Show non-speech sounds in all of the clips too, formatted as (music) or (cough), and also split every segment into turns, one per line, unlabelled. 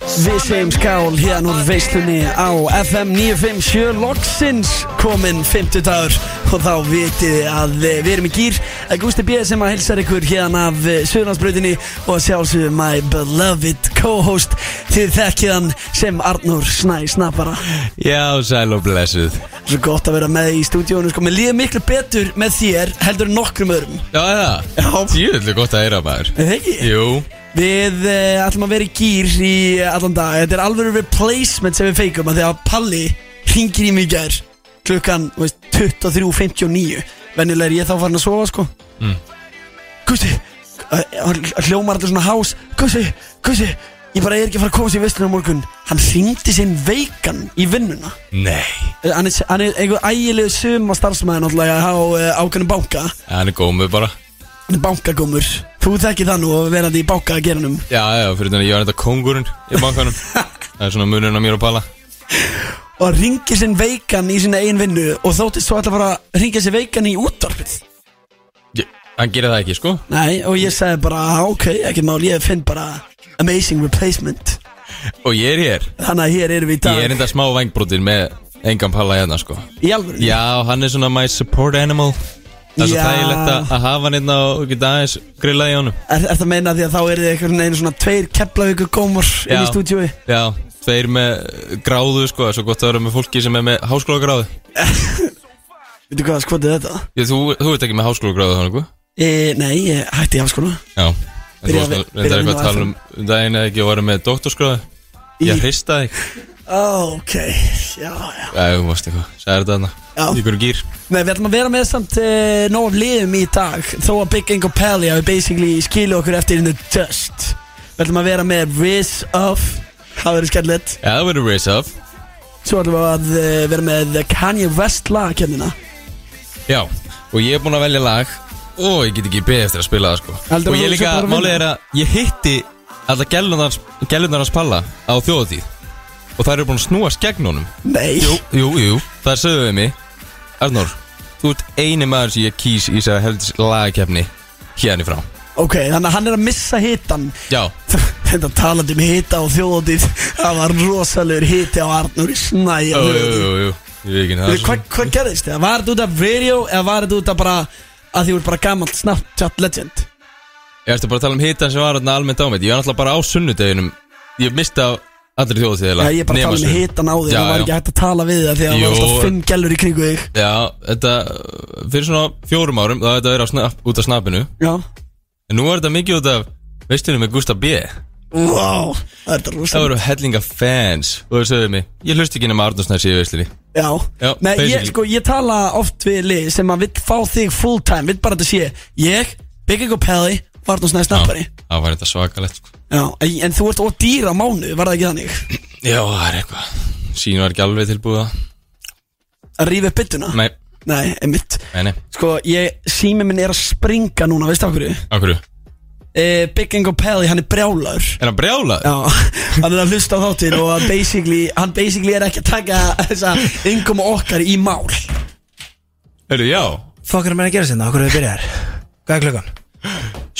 Við segjum skál hérna úr veislunni á FM 957 Loksins kominn 50 dagur og þá vitið þið að eh, við erum í gýr að Gústi B. sem að hilsar ykkur hérna af Suðlandsbröðinni og að sjálfsögðu my beloved co-host þið þekkið hann sem Arnur Snæ Snappara
Já, sæl og blessuð
Svo gott að vera með í stúdíónu sko, mér líður miklu betur með þér heldur en nokkrum öðrum
Já, er það Djöðlega gott að heyra maður
Er það ekki?
Jú
Við uh, ætlum að vera í gýr í allan dag Þetta er alveg replacement sem við feikum að Þegar Palli ringir í mig í gær Klukkan þú veist, 23.59 Venjulega er ég þá farin að sofa sko
Mm.
Gusti uh, hann Hljómar allir svona hás Gusti, Gusti Ég bara er ekki að fara að koma sér í vestlunum morgun Hann hringdi sinn veikan í vinnuna
Nei
Eh, Hann er, hann er einhver ægilegu suma starfsmæði náttúrulega á uh, ákveðnum banka
Hann er gómið bara
Hann er bankagómur Þú þekkir það nú að vera því í banka að gera hennum
Já, já, fyrir þannig að ég var þetta kongurinn í bankanum Það er svona munurinn á mér og pala
og ringir sinn veikan í sinna eigin vinnu og þóttist svo ætla að fara að ringja sér veikan í útvarpið
ég, Hann gerir það ekki, sko
Nei, og ég sagði bara, ok, ekki mál, ég finn bara amazing replacement
Og ég er hér
Þannig að hér erum við í dag
Ég er enda smá vangbrotinn með engan pala hérna, sko
í alvöru
Já, hann er svona my support animal Það er svo
Já.
þægilegt að að hafa hann hérna og geta aðeins grillaði í honum
Er, er það að meina því að þá eru þið einhvern veginn svona tveir keflavíku gómur inn í
Já.
stúdíói
Já, þeir með gráðu, sko Það er svo gott að vera með fólki sem er með háskólagráðu
Veitu hvað skvotið þetta?
Ég, Þú, þú ert ekki með háskólagráðu þannig, hvað?
E, nei, ég hætti í háskóla
Já En þú
Byrja
varst
að-
nú-
byrja
reyndar
að
eitthvað
vinna á
að tala um um daginn eða ekki að vera með doktorskráðu
Í-
Ég hrista þig
Ok, já, já
Já, þú varst eitthvað, sagði þetta
Já.
þarna Í hverju gýr
Nei, við ætlum að vera með samt e, nóg af liðum í dag Þó að Big Ingo Pelli hafi basically skilu okkur eftir in the dust Við ætlum að vera með Riz Off Það verður skellilegt
Já, það verður raise up
Svo ætlum við að e, vera með Kanye West lag kemdina
Já, og ég er búinn að velja lag Og ég get ekki beðið eftir að spila það sko
Heldur
Og
þú
ég
að þú
líka,
sért bara að
málið
vinna?
er að ég hitti Alla gælunar, gælunar hans palla Á þjóðatíð Og það eru búin að snúast gegn honum
Nei
Jú, jú, jú, það sögðu við mig Arnór, þú ert eini maður sem ég kýs í þess að heldis lagakefni Hérna í frá
Ok, þannig að hann er að missa hitan
Já,
(laughs) Þetta talandi um hita og þjóðatíð Það var rosalegur hiti á Arnur í snæ
jú, jú, jú, jú. Ég veit ekki, það er
Hvað
svo-
hva gerðist það? Var þetta út af video eða var þetta út af bara að því voru bara gamalt Snapchat legend?
Ég ætti bara að tala um hitan sem var þarna almennt á mig Ég var náttúrulega bara á sunnudeginum Ég misti af allri þjóðatíðila
Já, ég er bara að tala um hitan á þig,
Já,
það var
já.
ekki hægt að tala við það því að það var
Jú.
alltaf fimm gælur í kringu þig
Já, þetta uh, Fyrir svona fjórum árum Það þetta verið á snap, út af snappinu
Já
En nú er þetta mikið út af Veistunum með Gustaf B
Wow, það er þetta
Það
rosalega
voru hellinga fans Og þau sögðu mig Ég hlust ekki nema Arnarsnær síðu veistunni
Já,
Já,
Nei, ég,
basically.
sko, ég tala oft við lið sem að vill fá þig full time, vill bara að þetta sé Ég, Big Ego Pelli, Varnum Snæði Snappari Já,
Það var þetta svakalegt sko.
en, en þú ert of dýr á mánu, var það ekki þannig?
Já, það er eitthvað Sín var ekki alveg tilbúða
Að rífa upp byttuna?
Nei,
Nei, einmitt
nei, nei
Sko, ég, sími minn er að springa núna, veistu af hverju?
Akkur
Eh, Big Ego Pelli, hann er brjálaður
Er hann brjálaður?
Já, hann er að hlusta á þáttinn og að basically, hann basically er ekki að taka þessa yngum okkar í mál
Heyrðu, já
Fuck er að menna að gera sinna, okkur við byrjar Hvað er klukkan?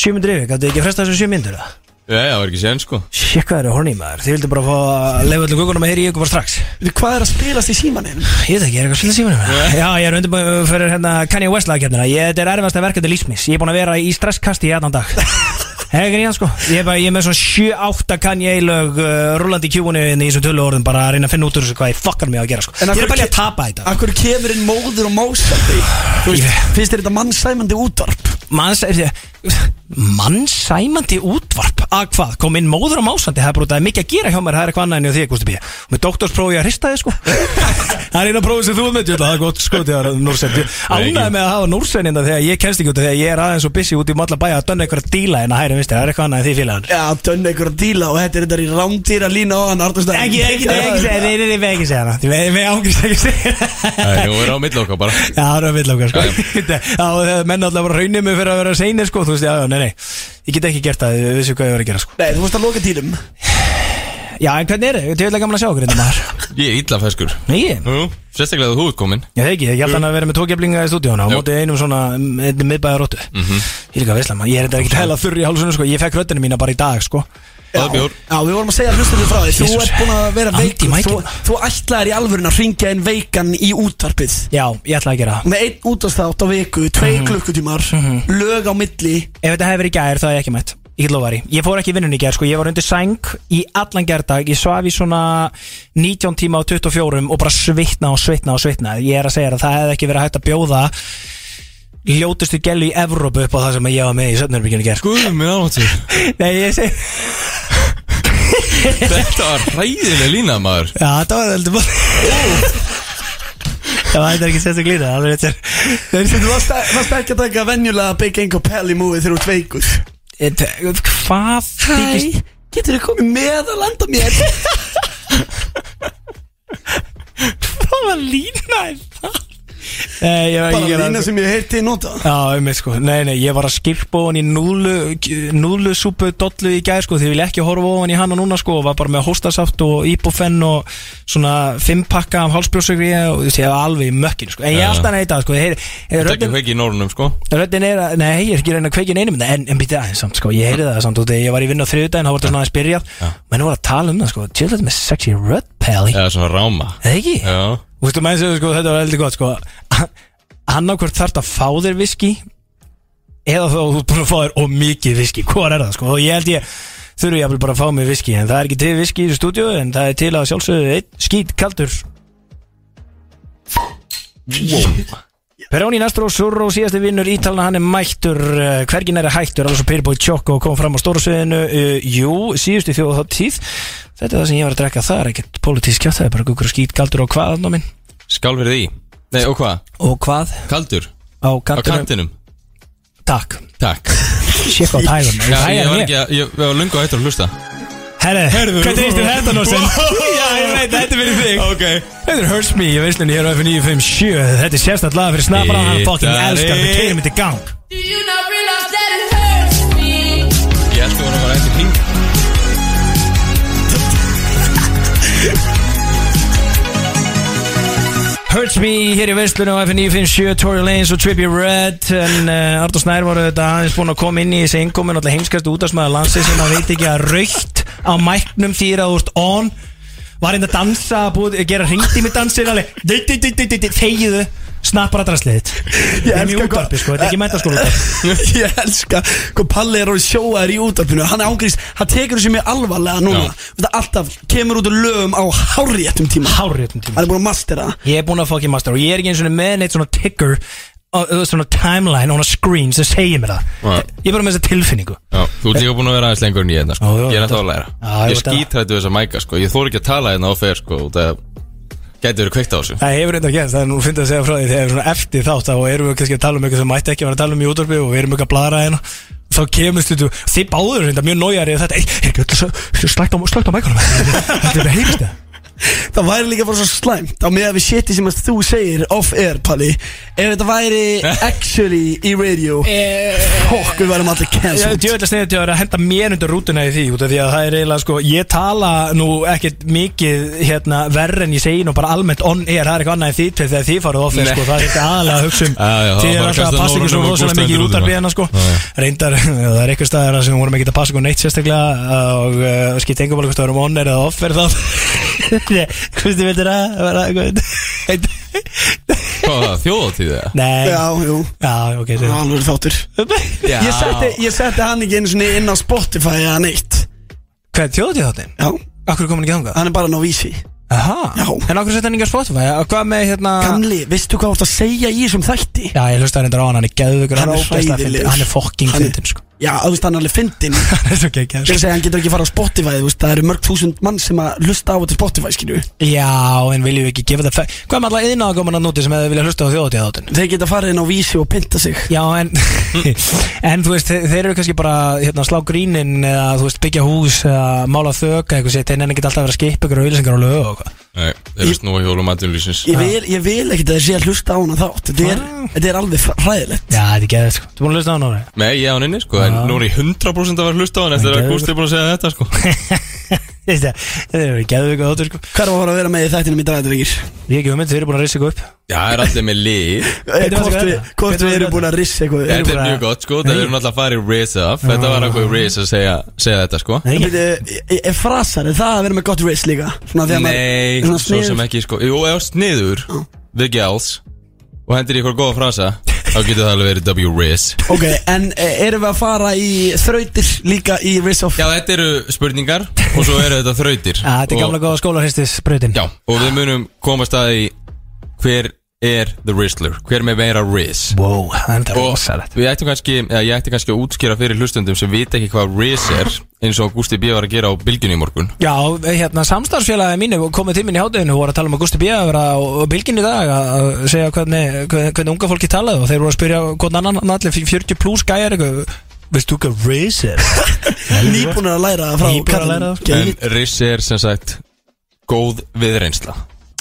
7 myndir yfir, gætu ekki fresta þessu 7 myndir það?
Já, já, það var ekki sér sko
Sjekk hvað eru horny maður, þið vildu bara fá að leifa öllum kukunum að heyri í ykkur bara strax
Veitu, Hvað er að spilast í símaninn?
Ég veit ekki, ég er eitthvað svolítið símanum yeah. Já, ég er undirbúin fyrir hérna Kanye West lagkjöfnina Ég, þetta er erfasta verkefni lífsmis Ég er búin að vera í stresskasti í annan
(laughs)
dag Hegir í hann sko Ég er, bara, ég er með svona 7-8 Kanye lög uh, Rúlandi kjúinu inn í þessu tölu orðum Bara að reyna að finna út úr þessu hvað ég fokkar mig á að gera sko
En af
Ég er
hverju ke-
bara að tapa í dag
Akkur kemur inn móður og mósandi Þú veist,
Ég-
finnst þér þetta mannsæmandi útvarp?
Manns, er, mannsæmandi útvarp að hvað, kom inn móður og másandi það er bara út að það er mikið að gera hjá mér, það er eitthvað annað enn því Gusti B. og með doktorsprófi að hrista (laughs) þig sko það er eina prófi sem þú ert með djöfla, það er gott sko þegar Núrsen ánæði með að hafa Núrsen innan þegar ég kennst ekki út af því að ég er aðeins og busy út í malla bæja að dönna einhverja díla hérna en að hæri vinstri, það er eitthvað annað en því félagann
Já, dönn einhver að díla og þetta er þetta í rándýra lína á hann Arnarstæðin
ekki, ekki, ekki, ekki, segja- nei, nei, nei, nei, ekki segja hana Því við- við ángist ekki að segja
Eh,
hana.
Nei, nú er á milli okkar bara
Já, það er að vilja okkar sko (laughs)
Já,
Já, þegar menn alltaf bara raunir mig fyrir að vera seinir sko Þú veist, já, já, nei, nei Ég get ekki gert það, við vissum hvað ég var að gera sko
Nei, þú veist að loka dýrum
Já, en hvernig er þið? Ég vil að gaman að sjá okkur hérna maður
Ég er illa feskur
(laughs) Nei, ég
Jú, sérstaklega þú ert komin
Já, það ekki, ég held hann að vera með tókjaflinga í stúdíónu á
Jú.
móti einum svona, mm, Mhm. einni miðbæðaróttu mm -hmm. Ég er líka veislega, maður, ég er þetta ekki tæla þurr í hálsunum sko, ég fekk röddina mína bara í dag sko
og það bjór
Já, við vorum að segja hlustum frá því Þú
Jesus.
ert búin að vera
Andi í
veikur Þú,
mækina.
þú ætlaðir í alvörun að ringja inn veikan í útvarpið
Já, ég ætla að gera það
Með einn útastátt á viku, tvei klukkutímar Lög á milli
Ef þetta hefur verið í gær þá hef ég ekki mætt Ég get lofað því Ég fór ekki í vinnunni í gær sko Ég var undir sæng í allan gærdag Ég svaf í svona 19 tíma og 24 og bara svitna og svitna og svitna Ég er að segja þér að það hefði ekki verið hægt að bjóða Ljótustu gellu í Evrópu upp á það sem ég var með í Söfnurbygginu gær sko.
Guð minn áláttur
(laughs) Nei, ég segi
Þetta var hræðileg lína maður
Já, þetta var heldur bara Það var þetta ekki sérst að glýta Það er þetta Það er
Þú varst, varst ekki að taka venjulega Big Gang og Pelly movie þegar þú ert veikur
þetta Hvað þykist
Hæ, getur þið komið með að landa mér?
Það var lína er það? Nei, ég var
Bara
ekki að
lína sem ég heyrti í nota (laughs)
Já, um mig sko, nei, nei, ég var að skilpa ofan í núlu, núlusúpu dollu í gæð sko, því ég vil ekki horfa ofan í hann og núna sko, og var bara með hóstasaft og íbúfenn og svona fimm pakka af hálsbrjósugri og þessi, ég var alveg í mökkinu sko, en ég er
Já.
alltaf neitað sko, ég heyri
Þetta ekki
röddin,
kveiki í norunum sko
röddin er að, nei, ég er ekki reyna að kveikja neinum, en, en býtti aðeins samt sko, ég heyri það samt, og þegar ég var í vinnu á þriðudaginn, þá var þetta svona aðeins byrjað, menn voru að tala um það sko, tjóðlega með sexy rödd, Pally,
Eða svona ráma
eða ekki?
Já
Þú veist, menn segir sko, þetta var heldur gott sko Annarkvort þarf þetta að fá þér viski Eða þá þú ert búin að fá þér og mikið viski Hvor er það sko? Og ég held ég þurfi jafnvel bara að fá mig viski En það er ekki til viski í þessu stúdíu En það er til að sjálfsögðu einn skít kaldur Peróni næstur og surr og síðasti vinnur ítalna hann er mættur, eh, hvergin er hættur alveg svo Pyrrbói Tjokk og kom fram á stórsviðinu uh, Jú, síðustu þjóð þá tíð Þetta er það sem ég var að drekka, það er ekkert pólitísk kjátt, það er bara gukur skít kaldur og hvað annar minn
Skál fyrir því Nei og hvað?
Og hvað?
Kaldur
Á
Á
kantinum
kantinum
Takk
Takk
Sjekk á tægum
Já, ég var ekki að Ég var lungu að hættur að hlusta
Herre,
Herðu.
hvernig eistir þetta Norsen? (laughs) Já, ég veit, þetta er fyrir þig
Ok
Þetta er Hurts Me í veislunni hér á F957 Þetta er sérstætt laga fyrir snabbar Hann fucking elskar Við kegum þetta í gang
Do you not realize that it hurts me?
Ég held að voru að vera eftir ping
Hurts Me hér í veislunni á F957 Tory Lanez og Trippie Redd En uh, Artur Snær voru þetta aðeins búin að koma inn í þessi inkomin Alltaf heimskast útastmaður landsi sem að veit ekki að raukt á mæknum þýra úrst on Var einn að dansa, búið, eh, gera hringtími dansin alveg, dei, dei, dei, dei, dei, dei, þegiðu, snappar að
(laughs)
drastliðið. Ég er
elska
mjög
hvað-
útarpi, sko, þetta er ekki mæntaskóla
Ég elska hvað Palli er og sjóaður í útarpinu Hann ángrist, hann tekur þessu mjög alvarlega núna
Já.
Þetta alltaf kemur út úr lögum á hárjættum tíma
Hárréttum tíma
Hann er búin að mastera það.
Ég er búinn að fucking master og ég er ekki eins og með neitt svona ticker á- eða svona timeline on a screen sem segir mér það
Já.
Ég er bara með þessa tilfinningu
Já, þú ert líka búin að vera aðeins lengur en ég hérna sko.
Já, já,
Ég er
þetta-
alltaf að læra
Já, ég
Ég
veit að-
skítrættu þess að mæka sko Ég þór ekki að tala hérna á fer sko Það gæti verið kveikt á þessu
Það hefur reynda að gera, það er nú fyndið að segja frá því þegar svona eftir þátt þá erum við kannski að tala um eitthvað sem mætti ekki að vera að tala um í útvarpi og við erum eitthvað að blara hérna þá kemur stundum, þið báður reynda mjög nójari þetta, ei, er ekki öll slægt á, slægt á mækunum þetta er heimist það
Það væri líka bara svo slæmt Á meða við shiti sem að þú segir off-air Palli Ef þetta væri actually í radio Fokk, við værum allir
Ég er
cancelled
djöðlega sniðið til að vera að henda mér undir rútuna í því út af því að það er eiginlega sko ég tala nú ekkert mikið hérna verð en ég segi nú bara almennt on air það er eitthvað annað en því til þegar því farið off air
Nei.
sko það er eitthvað aðalega að hugsa
(laughs)
um
Já, já, það
því
var
er
bara
alltaf að
kastað
passa ekki
norðan
svo
og
rosalega
bústaðið
mikið í
undir rútuna.
útarpi hérna sko
Já, já.
reyndar það er eitthvað staðar þar sem við vorum ekki að passa ekki neitt sérstaklega og uh, skipt engum alveg hvort það vorum on air eða off air þá (laughs) Kristi vildir að vera
Hvað var það? Þjóðatíð eða?
(laughs) Nei
Já, jú,
Já, ok
það
segðu.
var alveg þáttur
(laughs)
Já.
Ég setti, ég setti hann ekki einu sinni inn á Spotify eða neitt
Hvað, þjóðatíð þáttin?
Já,
Akkur kom hann ekki þangað?
hann er bara ná vísi
Aha,
Já.
en okkur setja hann ekki á Spotify og hvað með hérna
Gamli, veistu hvað þú ert að segja í þessum þætti?
Já, ég hlusta hann reyndar á hann, hann er geðvögur
Hann er
ógeðslega
hræðilegur.
fyndinn, Hann er fokking
Hann er-
fyndin sko (laughs)
Já, þú veist hann er alveg fyndin Ég
Hann er svo
er að
geggjaður, sko.
segja, hann getur ekki fara á Spotify þú veist, Það eru mörg þúsund mann sem að hlusta á þetta Spotify skilju
Já, en viljum við ekki gefa það fe- Hvað með alla yðnaða komin að núti sem hefði viljað hlusta á þjóðatíða þáttin?
Þeir geta farið inn á vísi og pynta sig
Já, en, en þú veist, þe- þeir eru kannski bara hérna, slá grínin eða þú veist, byggja hús eða mála þöka eitthvað sétt en enn ekki alltaf að vera að skipa ykkur auðlýsingar og lög og eitthvað
Nei, þeir eru snúa hjólum aðdunlýsins
Ég vil, ég vil ekki að þeir sé að hlusta á hana þátt Þetta er,
Ah.
þetta er alveg hræðilegt
Já, þetta er geðið sko Þú búin að hlusta á hann ára?
Nei, ég á hann inni sko En nú er ég 100% að vera að hlusta á hann Eftir að
Geðveikur.
Gústi er búin að segja þetta sko
Það er geðvöku þáttur sko
Hvað er að fara að vera með í þættinum í dag, drengir?
Ég hef ekki hugmynd, þau eru búin að reysa ykkur upp
Já, það er allir með lið
Eh, Hvort
Hvernig varstu
við, hvort við
þetta? Hvernig varstu
erum búin að rissa eitthvað
Þetta er
bara-
mjög gott sko, það verður náttúrulega að fara í Riz af Þetta var eitthvað Riz að segja, segja þetta sko
Nei, ekki.
Byrju, Er er frasar, er það að vera með gott riss líka? Svona þegar
Nei,
maður,
svo sem ekki sko Jú, ef sniður The Gals Og hendur í eitthvað góða frasa Þá getur það alveg verið W-Riz
Ok, en eh, erum við að fara í þrautir líka í riss off?
Já, þetta eru spurningar Og svo eru þetta þrautir
Já, Þetta er gamla
og,
góða skólarhistis brautin
Já, og við munum komast að í Hver er The Rizzler? Hver með meira Riz?
Wow, það er
Og
rosalegt
við ættum kannski, eða ég ætti kannski að útskýra fyrir hlustundum sem vita ekki hvað Riz er eins og Gusti B. var að gera á bylgjunni í morgun
Já, hérna, samstarfsfélagi mínu komið til mín í hátæðinu og voru að tala um að Gusti B. að vera á á bylginni í dag að að segja hvernig, hvernig, hvernig unga fólki talaði og þeir voru að spyrja hvernig annan hann allir 40 pluss gæjar eitthvað Veistu þú hvað Riz er?
Nýbúnir að læra það frá
Nýbúnir að læra það.
Gæi.
En Riz er sem sagt góð viðreynsla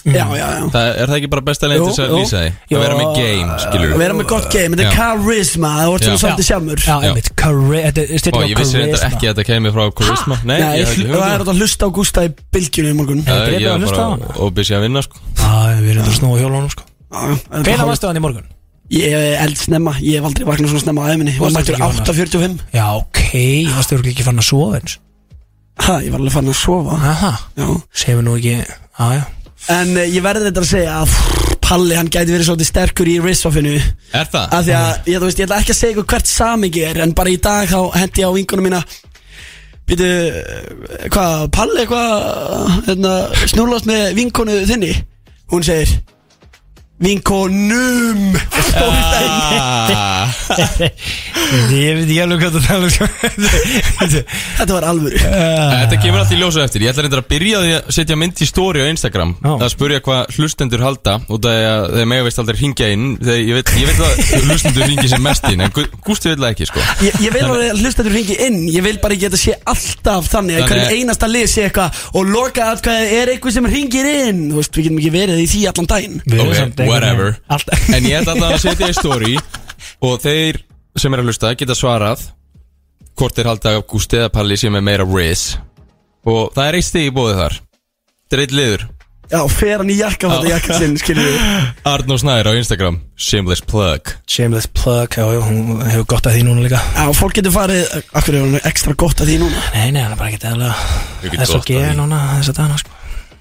Mm.
Já, já, já
það, Er það ekki bara besta
Jú,
leginn til þess að
jú.
lýsa því?
Jú,
Að vera með game, skilur
Að
við
vera með gott game, þetta er
Já.
charisma Það voru svona
Já.
svolítið sjálfur
Já, einmitt, Chari- þetta er
Ó,
styrna
ég vissi reyndar ekki að þetta kemur frá Charisma Nei,
Nei,
ég
ég
hef
hlu-
ekki
það er
hugmynd
átt að hlusta á Gústa í bylgjunni í morgun
Já, Ég
Grefið að
var
hlusta á
bara
hana.
óbísi að vinna sko
Já, við erum þetta snúið á hjólunum sko Hvenær varstu hann í morgun?
Ég er eld snemma, ég hef aldrei vaknað svona snemma á æminni Ég var mættur
Varstu ekki
8.45
vaknaður? Já, ok, varstu örugglega ekki fann að sofa eins
Ha, ég var alveg fann að sofa
Aha,
Já.
sefum nú ekki Já, já
En eh, ég verði þetta að segja að pff, Palli, hann gæti verið svolítið sterkur í risoffinu Af
Er það?
því að, ég, þú veist, ég ætla ekki að segja ykkur hvert samingi er En bara í dag þá hendi ég á vingunum mína Býtu, hvað, Palli eitthvað hérna, Snúrlast með vinkonu þinni Hún segir Vinkonum
Ah,
(laughs) Ég veit ekki alveg hvað það tala um,
(laughs)
sko.
Þetta var alvöru
Þetta kemur alltaf í ljósa eftir Ég ætla reyndar að byrja á því að setja mynd í story á Instagram
Já.
að spurja hvað hlustendur halda og það er að þeir mega veist aldrei hringja inn þegar ég veit, ég veit að hlustendur hringi sem mest inn en Gu- Gústi vil það ekki sko
Ég, ég vil alveg að hlustendur hringi inn Ég vil bara ekki að þetta sé alltaf þannig að
Þannig-
hverjum einasta lið sé eitthvað og loka að hvað er eitthvað sem hringir inn Þú veist, við getum ekki verið í því allan daginn
Við erum
Ok,
samt einhvern
whatever.
veginn Allt
En ég ætla alltaf að setja í story Og þeir sem er að hlusta geta svarað Hvort þeir halda að Gústi eða Palli sem er meira Riz Og það er eitt stig í bóðið þar Þetta er eitt liður
Já, fer hann í jakka þetta jakka sinn, skiljum við
Arnó Snær á Instagram Shameless plug
Shameless plug, já, já, hún hefur gott að því núna líka
Já, fólk getur farið, akkur er hann ekstra gott að því núna
Nei, nei, hann er bara ekki
Ég
eðalega
get
Það er svo
gott að
geð
því.
núna þess að dana, sko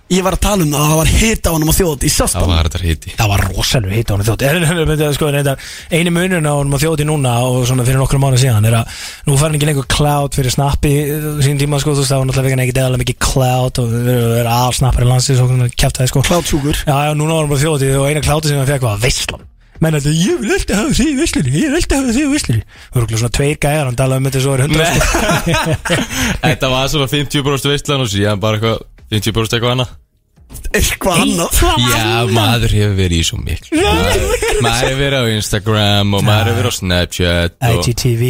Ég var að tala um það, það var hita á hann á þjóðat í sást
Það
hann
var þetta hiti
Það var rosalega hitt á hann (laughs) þjótt En en- en- sko, reyndar, eini munurinn á hann þjótti núna og svona fyrir nokkrum mánu síðan er að nú fær hann ekki lengur cloud fyrir snappi eh, sín tíma sko, þú veist, það var náttúrulega ekki eðalega mikið cloud og verður all snappari landsins og kæft aðeins sko
Klátsúkur
Já, já, núna var hann bara þjóti og eina kláti sem hann fekk var veislan Menn heldur, ég vil alltaf hafa þig í veislunni, ég vil alltaf hafa þig í veislunni Það voru svona tveir gæjar, hann talaði um þetta svo er hundra
(laughs) Þetta var svona 50% veistlan og síðan bara eitthvað 50% eitthvað annað
Eitthvað annað
Já, maður hefur verið í svo miklu Maður maður hefur verið á Instagram og maður hefur verið á Snapchat og
IGTV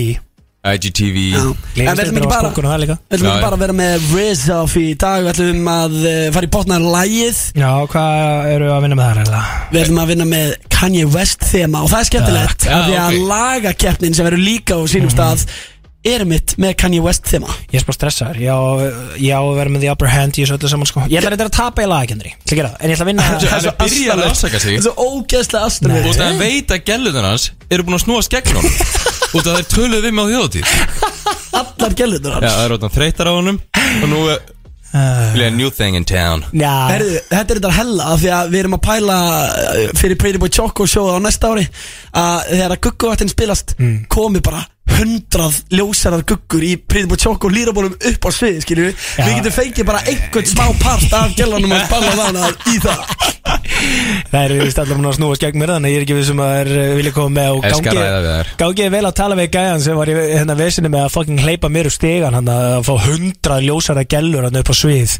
IGTV
Já. En
Gleifist
við ætlum
þetta
ekki
á
bara
skokkunum það líka
Við ætlum ekki
Já, já.
bara að vera með Rizoff í dag Við ætlum að eh, fara í botnar lægið
Já, hvað eru að vinna með það reyla?
Við ætlum að vinna með Kanye West þema og það er skemmtilegt
Takk.
af því
Já,
að
ok. Mhm.
lagakeppnin sem verður líka á sínum stað er mitt með Kanye West þema
Ég er bara stressaður, ég á, ég á að vera með the upper hand í þessu öllu saman sko Ég ætla reyndar að tapa í lagakendri, ekki það, en ég ætla að vinna
Hann er byrjað að afsaka sig
Það er svo ógeðslega
Nei.
Og
afturverð
það hann veit að gælunar hans eru búin að snúa (laughs) skeggnum Og það er töluð við með á þjóðatíð Já,
Allar gælutur hans
það er orðan þreytar á honum Og nú er vilja new thing in town
Já,
Herðu, þetta er þetta hella af því að við erum að pæla uh, fyrir Pretty Boy Choco sjóða á næsta ári að þegar að gugguvattinn spilast
Mm.
komi bara hundrað ljósarar guggur í Pretty Boy Choco lýrabólum upp á sviði skilju
Já.
Við getum fengið bara einhvern smá part af gælanum að balla það í það
það eru vist allar múin að snúast gegn mér þannig að ég er ekki vissum að það er vilja koma með og
Ég skal ræða við þær.
gangi vel að tala við gæjan sem var í hérna vesinu með að fucking hleypa mér úr stegan hann að fá hundra ljósara gellur hann upp á svið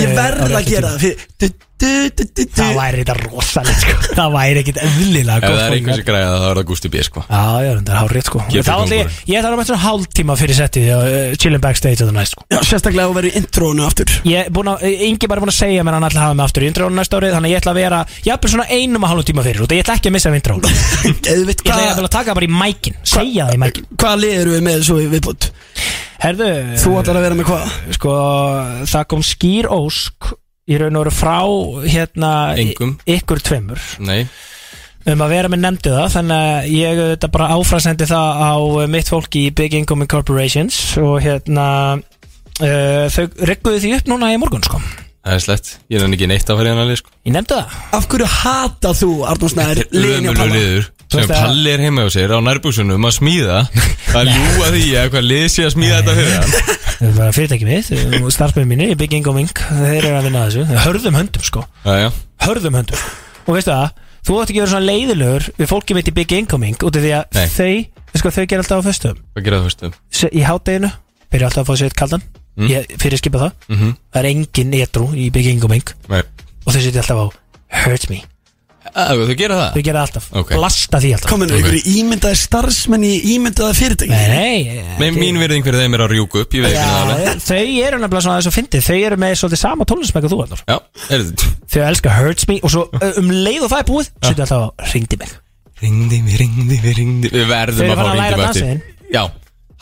Ég
eh, á
verð
réttum
að gera
tíma.
það fyrir du, du, du, du, du.
Það væri þetta rosalegt sko Það væri ekkit eðlilega
Ef
gott
það er
fólk. sko.
einhvers sem græða það er það Gusti B sko
Já, já, þetta er hárið sko
Getur
Þá ætla ég,
kóngurinn.
ég þarf að mæta svona hálftíma fyrir settið og uh, chillin backstage og það næst sko
Já, sérstaklega að vera í introinu aftur
Ég er búin að, Ingi bara búin að segja mér að hann ætla að hafa mig aftur í intro næsta árið Þannig að ég ætla að vera, ég ætla svona einum og hálfum tíma fyrir út af Ég ætla ekki að missa af intro Ég
Eða veit
ætla ég ætla
hvað
að taka það bara í mækin, segja það í mækin
Hvað lið eru við með svo í viðbútt?
Herðu,
Þú ætlar að vera með hvað?
sko, það kom skýr ósk í raun og veru frá hérna
Engum.
y- ykkur tveimur
Nei,
um að vera með nefndi það þannig að ég þetta bara áfrasendi það á eh, mitt fólki í Big Income Corporations og hérna uh, þau regguðu því upp núna í morgun sko
það er slett Ég er hann ekki neitt að fara í hann að lið sko
ég nefndi það
Af hverju hata þú Arnúr Snæður liðin og
Ömurlegur
palla?
liður
Þú
sem
veist að-
Palli er heima á sér á nærbúsunum að smíða að ljúa því að hvað lið sé að smíða þetta fyrir hann
þau eru bara fyrirtæki mitt og starfsmenn mínir í Big Income Inc. þeir eru að vinna að þessu hörðum höndum sko
Jæja,
hörðum höndum og veistu það, þú átt ekki að vera svona leiðilegur við fólki mitt í Big Incoming út af því að
Nei.
þau, sko, þau ger alltaf á föstum
hvað gera það fyrstum?
í hátteginu, byrja alltaf að fá sér eitt kaldan ég fyrir skipa það
Mm -hmm.
það er engin etrú í Big Incoming
Nei,
og þau setja alltaf á Hurt Me,
að, þú gera það?
þau gera alltaf
Ok.
blasta því alltaf
Komin
Ok.
ykkur ímyndaði starfsmenn í ímyndaða fyrirtæki
nei, nei,
Nei,
ekki-
mín verðing fyrir þeim er að rjúka upp, ég veit ekki það alveg
Já, þau eru nefnilega svona þess að fyndi Þau eru með svolítið sama tónlismæk og þú Arnór
Já, er þetta
Þau elskar Hurts Me og svo ö, um leið og það er búið Setja alltaf á Ringdi mig
Ringdi mig, ringdi mig, ringdi Við
Þau
verðum
eru
að
farin
fá
að
ringdi
læra
mig
dansinn.
eftir Já,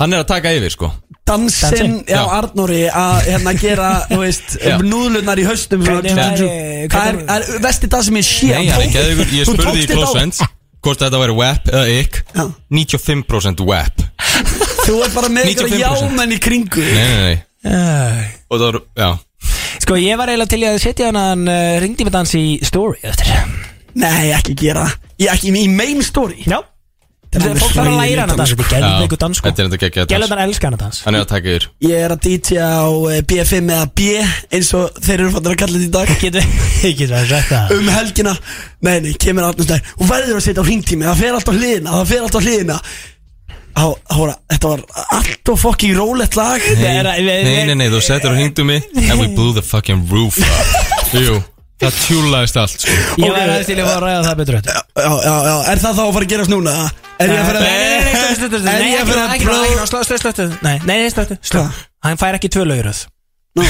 hann er að taka yfir sko
Dansinn
Dansinn,
á
já.
Arnóri að hérna gera, þú veist,
Já.
núðlunar í höstum svona-
Hvernig væri-
Það er- það er vesti dans sem ég sé
Nei, hann er geðugur, ég
Þú
spurði
tókst
í
þetta á-
Close Friends Hvort þetta væri WAP eða IK
Já.
95% WAP
Þú er bara með ykkur
95%.
jámenn í kringu
Nei, nei, nei
Æ.
Og það var, já
Sko ég var eiginlega til í að setja hann hann uh, ringdi með dans í story eftir Já
Nei, ekki gera það. Ég ekki í main story
Þetta er fólk þarf að læra hann að dans Þetta er gæðveiku dans sko
Þetta er þetta geggja dans
Gæðveikan elskar hann að dans
Hann er að taka yfir
Ég er að DJ á eh, B5 eða B eins og þeir eru fannir að kalla þetta í dag
(laughs) Getur Ég getur að sagt það
um helgina Nei, nei, kemur Arnur Snær Hún verður að setja á hringtími, það fer alltaf hliðina Það fer alltaf hliðina Á, Hóra, þetta var allt og fokki rólegt lag
Nei, nei, nei,
Nei, nei, nei, þú settur og hringdu
(laughs)
mig And we blew the fucking roof up Jú, það tjúlaðist allt sko
Ég var aðeins til í að fara að ræða það betur þetta
Já, já, já, er það þá að fara að gerast núna? Er ég að fara að Er ég að fara að prófa
slöttu, slöttu Nei, nei, nei, slöttu
Hvað?
Hann fær ekki tvö lauröð (laughs)
Nú,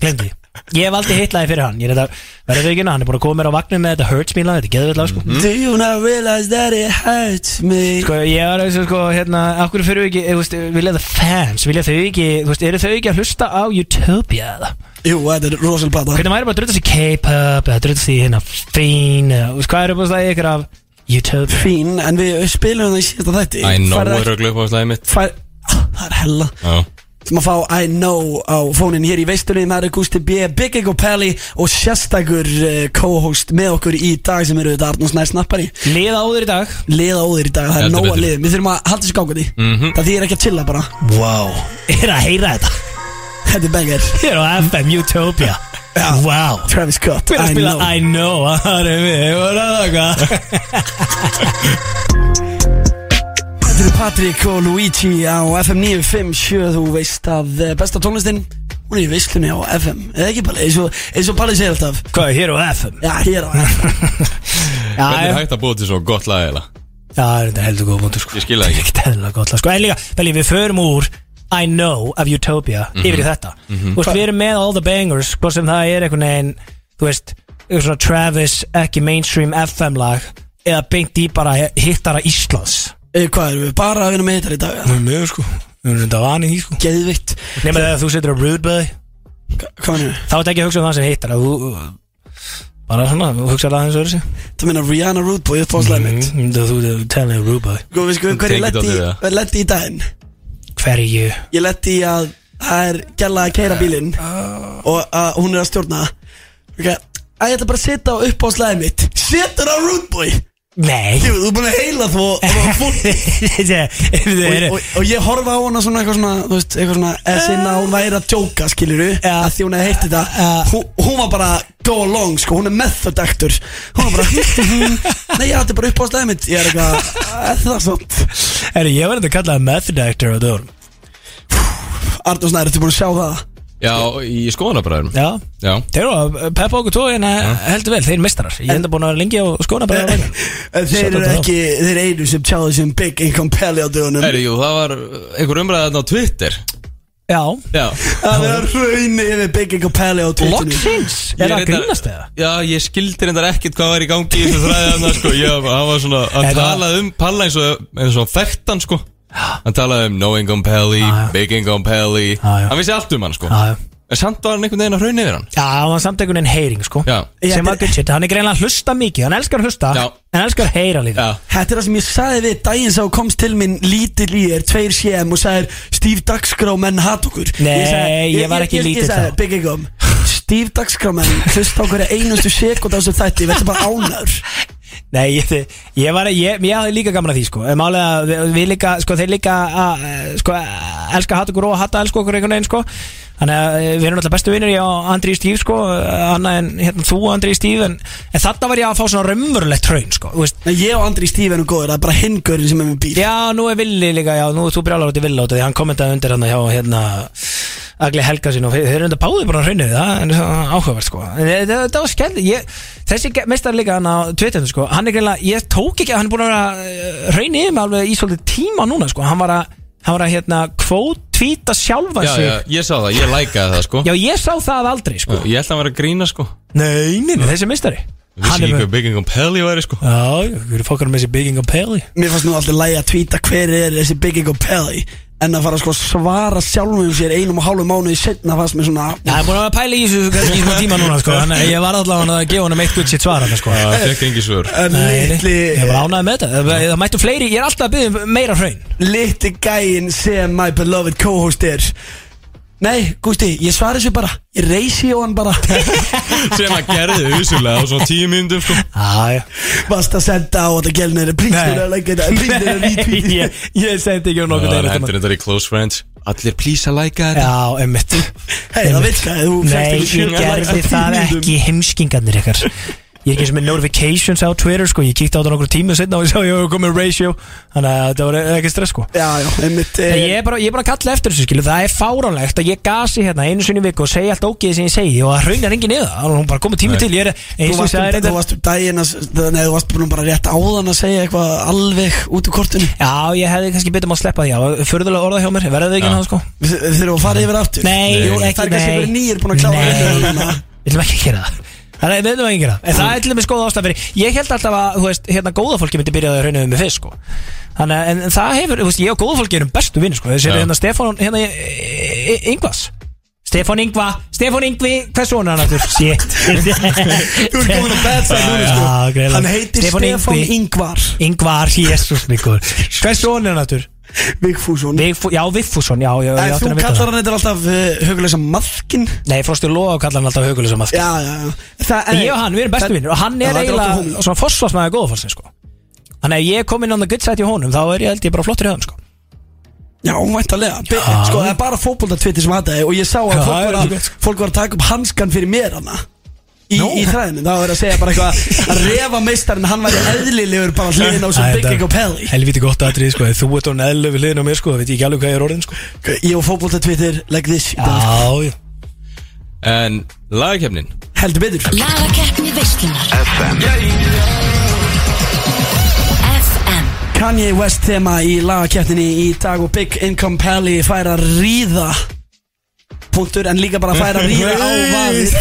Glemdi Ég valdi hitlaði fyrir hann Ég er þetta Verður þau ekki ná Hann er búin að koma mér á vagnin með þetta Hurts me lag Þetta er geðveikt lag sko
Do you not realize that it hurts me?
Sko ég var eins og sko hérna Akkur fyrir ekki Þú veist Vilja það fans Vilja þau ekki Þú veist Eru þau ekki að hlusta á Utopia eða?
Jú, þetta er rosal plata
Hvernig væri bara að drutta sér K-pop eða drutta sér hérna Fín eða, þú veist, Hvað er upp á það ykkur af YouTube
Fín, en við spilum það í síðasta þætti
I know
Færðu
er
ekki-
að glöpa á slæði mitt
fær- Ah, Það er hella
Já
sem að fá I know á fónin hér í veistunni það eru Gusti B, Big Ego Pelli og sérstakur uh, co-host með okkur í dag sem eru þetta Arnús Nær Snappari
Liða áður í dag
liða óður í dag, það er
Heldur
nóg að
betur.
liðum við þurfum að halda þessu gákandi
Mhm.
það þýðir ekki að chilla bara,
Wow (laughs) Er að heyra þetta
þetta er banger
Ég er á FM Utopia
Já.
Wow
Travis Scott,
Við erum að spila I know (laughs) Það er við Ég var að það hvað
Þetta eru Patrik og Luigi á FM 957 þú veist að eh, besta tónlistin hún er í veistunni á FM eða ekki Palli, eins og, eins og Palli segir alltaf
Hvað hér á FM
já, hér á FM
Já,
Hvernig
já.
er hægt að búa til svo gott lag eða?
Já, það er þetta heldur góð búndur sko
Ég skil það ekki.
Ekkert heldur góð lag sko En líka, Belli, við förum úr I know of Utopia
Mhm.
Yfir í þetta Þú veist, við erum með all the bangers Hvort sem það er einhvern veginn Þú veist, eitthvað svona Travis Ekki mainstream FM lag Eða beint í bara hittara Íslands
Eh, hvað erum við, bara að vinna með hittar í dag eða?
erum með sko Við erum þetta vanið í sko
geðvikt,
Nei, með að þú setur á Rude Boy
hvað er þetta?
Þá er ekki að hugsa um það sem hittar Þú bara svona, þú hugsa það eins og öðru sig
Það meina Rihanna Rudeboy uppáðslega mitt
Mhm. Þú telur Rude Boy
Sko, við skoðum hverju
Tekið dálítið við
letti, letti í daginn
Hverju
Ég letti í að það er gæla að keira bílinn Og að hún er að stjórna okay. Að ég ætla bara að setja á upp á slæðið mitt Setur á Rootboy Jú,
Nei
þú er búin að heila þú og,
(laughs)
og, og,
og,
og, og ég horfa á hana svona eitthvað svona Þú veist, eitthvað svona Eða sinna að hún væri að djóka, skilur du
Já.
Því hún hefði heyrti þetta
Já.
hún, hún var bara go along, sko Hún er method actor Hún var bara Nei, ég ætla bara (laughs) upp á slæðið mitt Ég er eitthvað "Er Það er svont
Herri, ég var þetta að kalla það method actor á dörum
Arnur Snær, ertu búin að sjá það?
Já, í skoðanabræðurum
Já
Já
Þeir eru að peppa okkur tóin heldur vel, þeir mistrar Ég enda búin að vera lengi á skóna bara
Eh,
hérna. að
En (laughs) Þeir
Shut
eru
up.
ekki, þeir einu sem tjáðu sem Big Income Pelli á dögunum
Herri, jú, það var uh, einhver umræða þarna á Twitter
Já
Já
Það er að rauni yfir Big Income Pelli á dögunum
Loksins Er það að grínast eða?
Já, ég skildi reyndar ekkert hvað var í gangi í þessu þræði hann, sko Ég, hann var svona að
Þetta-
tala um Palla eins og, eins og þekktan, sko Hann talaði um knowing on Pelly,
já.
making on Pelly
Já, já.
Hann vissi allt um hann sko
Já, já.
En samt var hann einhvern veginn að hrauna yfir hann
Já, hann var samt einhvern veginn heyring sko
Já.
Sem
Ég-
var good shit, hann er greinlega að hlusta mikið Hann elskar að hlusta,
Já.
en elskar að heyra líka
Já,
Þetta er það sem ég sagði við daginn sá komst til minn lítill í þér, tveir séum og sagðir Steve Dagskrá menn hat okkur
Nei,
sagði-
ég var ekki lítill
Ég sagði,
þá.
big egum Steve Dagskrá menn, hlust á hverja einustu sekund á þessu þætti, verður bara ánæður
Nei, ég, þi- ég var, ég, ég hafði líka gaman að því sko En Málið að við- við líka, sko þeir líka að, eh, sko, elska að hata okkur og að hata elska okkur einhvern veginn sko Þannig að eh, við erum alltaf bestu vinnir, ég og Andri Stíf sko Annað en hérna, þú og Andri Stíf en, en þarna var ég að fá svona raunverulegt traun sko Þú veist,
Nei, ég og Andri Steve erum góður, það er bara hingurinn sem er með bíl
Já, nú er Villi líka, já, nú er þú brjálar út í Villi út af Því hann kommentaði undir hann hjá hérna Agli Helga sín og þeir þeir eru enda báði bara hraunir það En það er áhugavert sko En þe- þe- Þetta var skemmt, ég, þessi ge- meistar líka hann á Twitterinu sko Hann er greinlega, ég tók ekki, hann er búin að vera hraunir yfir mig alveg í svolítið tíma núna sko Hann var að, hann var að hérna kvót tvíta sjálfa
já,
sig
já, ég sá það, ég lækaði það sko
Já, ég sá það aldrei sko
Ég held að hann var að grína sko
Nei, nei, nei, þessi meistari
Ég Vissi
er
ekki
með-
hvað making on Pelly væri sko
Já, já, við erum fokkar með þessi Bigging og Peli
Mér fannst nú alltaf lægi að tvíta hver er þessi Big Ego Pelly En að fara sko að svara sjálfum sér einum og hálfu mánuði setna fannst mér svona
Já, Það er búin að vera að pæla í þessu kannski í smá tíma núna sko Þannig að ég var allavega að gefa honum eitt gutt sitt svar hann sko
Það fekk engi (laughs) svör
En
Nei, nei,
litli,
Ég var ánægð með þetta Það- Það mættu fleiri, ég er alltaf að byggja um meira hraun
litli gæin sem my beloved co-host er Nei, Gústi, ég svara þessu bara Ég reysi á hann
(laughs)
bara
Sem hann gerði usulega á svona tíu myndum sko
Jájá
Vast að senda á þetta gælnir Prístur að leggja þetta Prístur
(laughs)
að retweeti
ég, ég sendi ekki um
Það
nokkuð
var
degir þetta
hendur
maður.
þetta í close friends Allir please að læka þetta
Já, emmitt
Hei, það virkaði Þú
Nei, ég gerði það ekki heimskingarnir ykkar Ég er ekki eins og með notifications á Twitter sko Ég kíkti á þetta nokkur tíma setna og ég sá ég hef komið ratio Þannig að þetta var ekki stress sko
Já, já, einmitt
Nei,
eh,
Ég er bara, ég er bara að kalla eftir þessu skilu Það er fáránlegt að ég gasi hérna einu sinni í viku og segja allt ógeði sem ég segi og að raunar engin niður Það er nú bara komið tími
Nei.
til Ég er
Þú
eins og ég
varst um-
sagði
þú
reyndar
varst um daginn að Nei, þú varst búin bara rétt áðan að segja eitthvað Alveg út úr kortinu
Já, ég hefði kannski betur maður að sleppa því Já, förðulega orða hjá mér, verðið þið ekki
Já.
náðu sko
Við við þurfum að fara yfir aftur
Nei,
Jú, Það
ekki,
er kannski
nei.
verið nýjir búin að klára
Nei,
þetta.
(laughs) við ætlum ekki að gera það Það er, við ætlum ekki að gera það En það er til dæmis góð ástæð fyrir Ég held alltaf að, þú veist, hérna góða fólki myndi byrjaði að rauna um mig fyrst sko Þannig að, en, en það hefur, þú veist, ég og góða fólki erum bestu vinn sko Þessi
Já.
hérna Stefán, hérna Yngvas Stefán Yngva, Stefán Yngvi, hvað svona hann aftur? Shit Þú
Þú ert komin að betsa núna sko
Já, greiðlega
Hann heitir Stefán Ingvar
Yngvar, jésús mikur Hvað svona hann aftur?
Vigfússon
Vigfú- Já, Viffússon, já, já,
En
já
þú kallar hann eitthvað alltaf eh, Hugleisa maðkin
Nei, Frostur Lóa kallar hann alltaf hugulisa maður sko.
Já, já, já Það-
Ég og hann, við erum bestu vinnir og hann
Já,
er
þetta er alltaf
eiginlega
hún.
svona fórsvarsmaður góðfálsins sko Þannig að ef ég kom inn on the good side í honum þá er ég held ég bara flottur í höfum sko
Já, væntalega Be-
Já.
Sko, það er bara fótboltatwitter sem hataði Og ég sá að
Já,
fólk
já,
var að,
já.
fólk var að taka upp hanskan fyrir mér hana Í,
sko. Nú.
í þræðinu, það var að segja bara eitthvað að refa meistarinn, hann væri eðlilegur bara hliðin á sem
Æ,
Big
þetta-
Ego Pelli
Helvíti gott aðrið sko, ef þú ert orðin eðlu við liðin á mér sko, það veit ég ekki alveg hvað ég er orðin sko
Ég og fótbolta Twitter, legg this shit down.
Já, já
En lagakefnin
Heldur betur
Lagakeppni veislunar FM
Kanye West þema í lagakjættinni í dag og Big Income Pelli fær að ríða punktur en líka bara fær að ríða á vaðið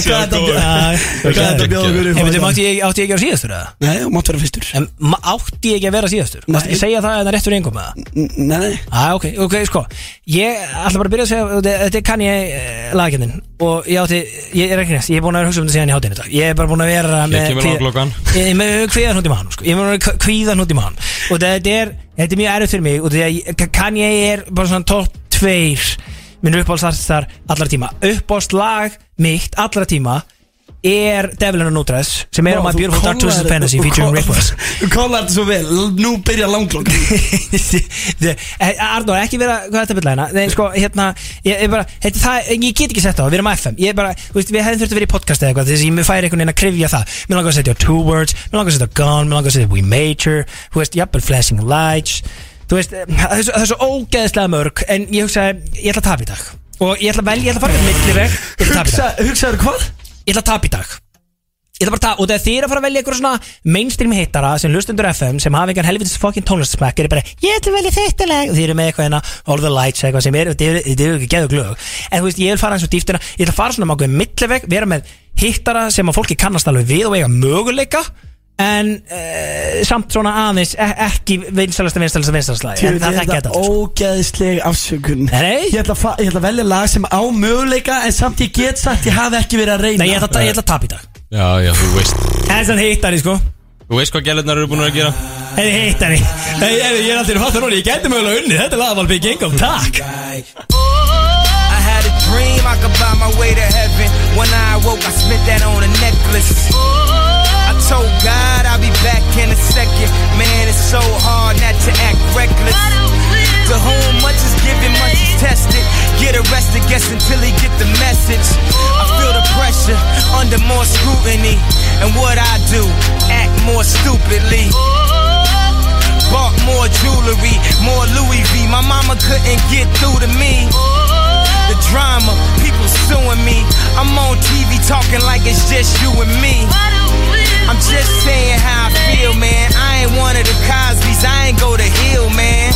Hvað
Hvað er
Eh,
þetta að bjóða-
Hvað
hvað er þetta að bjóða okkur
Ég veit,
upp á í dag?
átti ég átti ég ekki að vera síðastur eða?
Nei, þú mátt vera fyrstur
En ma- átti ég ekki að vera síðastur?
Nei.
Mástu ekki segja það en það réttur engum með það?
N- Nei, nei
Á, ok, ok, sko Ég ætla bara að byrja að segja þetta- Þetta er kann ég lagkjöndin Og ég átti, ég er ekki næst Ég er búin að vera að hugsa um þetta síðan í hátinn í dag Ég er bara búin að vera með
kemur
kvíða-
langlokan.
Ég er með kvíðan hund í maðan sko. Ég er með kvíðan hund í maðan Og þetta er, þetta er mjög erfitt fyrir mig Og þetta er, kann ég er bara svona topp tveir Minn uppáhaldsartistar allra tíma Uppáhaldslag mitt allra tíma Er Devil in a Nutress Sem er á My
Þú
Beautiful Dark Twisted
kollar-
Fantasy
þú
Featuring
kollar-
Rick Ross
Þú kollar þetta svo vel, nú byrja langlokk
Þe- eh, Arnór, ekki vera hvað er þetta byrja hérna Nei, sko, hérna, ég, ég bara þetta, það, ég get ekki sett á það, við erum á FM ég bara, þú veist, við hefðum þurft að vera í podcast eða eitthvað þess að ég mér færi einhvern veginn að krifja það mér langar að setja á Two Words, mér langar að setja á Gone mér langar að setja á We Major, þú veist, jafnvel Flashing Lights þú veist, eh, það er svo, það er svo ógeðslega mörg en ég hugsa, ég ætla að tapa í dag og ég ætla að velja, ég ætla að fara með milliveg ég ætla að tapa í dag
Hugsa- Hugsaðu hvað?
ég ætla að tapa í dag Ég ætla bara að tapa, og þegar þið er að fara að velja einhver svona mainstream hittara sem lustundur FM sem hafa einhvern helvitis fucking tónlistasmæk er bara, ég ætla að velja þetta lag og þið eru með eitthvað hérna, All the Lights eitthvað sem er, þið eru- þið eru ekki geðu glög en þú veist, ég vil fara eins og dýftina, ég ætla að fara svona mákuð milleveg, vera með hittara sem að fólki kannast alveg við og eiga möguleika En uh, samt svona aðeins e Ekki vinsalasta, vinsalasta, vinsalasta En það
Ég
þekki
ætla
þetta allt, sko.
ógeðsleg afsökun
Nei.
ég ætla, að fa- ég ætla að velja lag sem á möguleika En samt ég get sagt ég hafi ekki verið að reyna
Nei, ég ætla, ég ætla að tapa í dag
Já, já, þú veist
En þann hittari, sko
Þú veist hvað gælurnar eru búin að gera
En hittari Nei, ég, ég er alltaf að fatta núna Ég gæti mögulega unni Þetta er lagavál byggja engum Takk
I had a dream I could buy my way to heaven. When I awoke, I spent that on a necklace. I told God I'll be back in a second. Man, it's so hard not to act reckless. To whom much is given, much is tested. Get arrested, guess until he get the message. I feel the pressure under more scrutiny. And what I do, act more stupidly. Bought more jewelry, more Louis V. My mama couldn't get through to me. The drama, people suing me. I'm on TV talking like it's just you and me. I'm just saying how I feel, man. I ain't one of the Cosby's, I ain't go to Hill, man.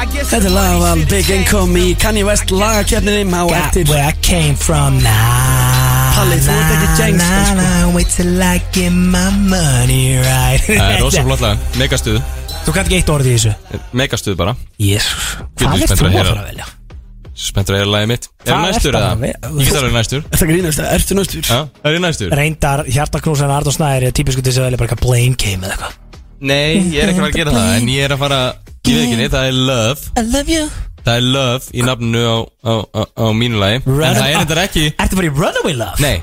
I guess
Þetta er lag af Big Income í Kanye West lagakefninum á
Got
eftir
where I came from now
Palli, þú ert ekki gangster, sko.
Wait till I get my money right
Það (laughs) er Eh, rosa flott lag, megastuð Eh,
Þú kannt ekki eitt orð í þessu
Megastuð bara
Jésus
Getur
Hvað
við
er
spenntur að
þú að
heyra?
fara að velja?
Spenntur að heyra lagið mitt Er
Það er
næstur
bara
eða?
vel-
Ég get alveg næstur (laughs)
Þetta grínast, ertu náttúr?
Já, er ég næstur?
Reyndar hjartaknúsan Arnó Snæður er típisku til þess að velja bara eitthvað blame game eða eitthvað
Nei, ég er ekki að fara að gera það En ég er að fara, ég veit ekki neitt, það er Love
I love you
Það er Love í nafninu á, á, á, á mínu lagi En það er þetta ekki
Ertu bara í Runaway Love?
Nei,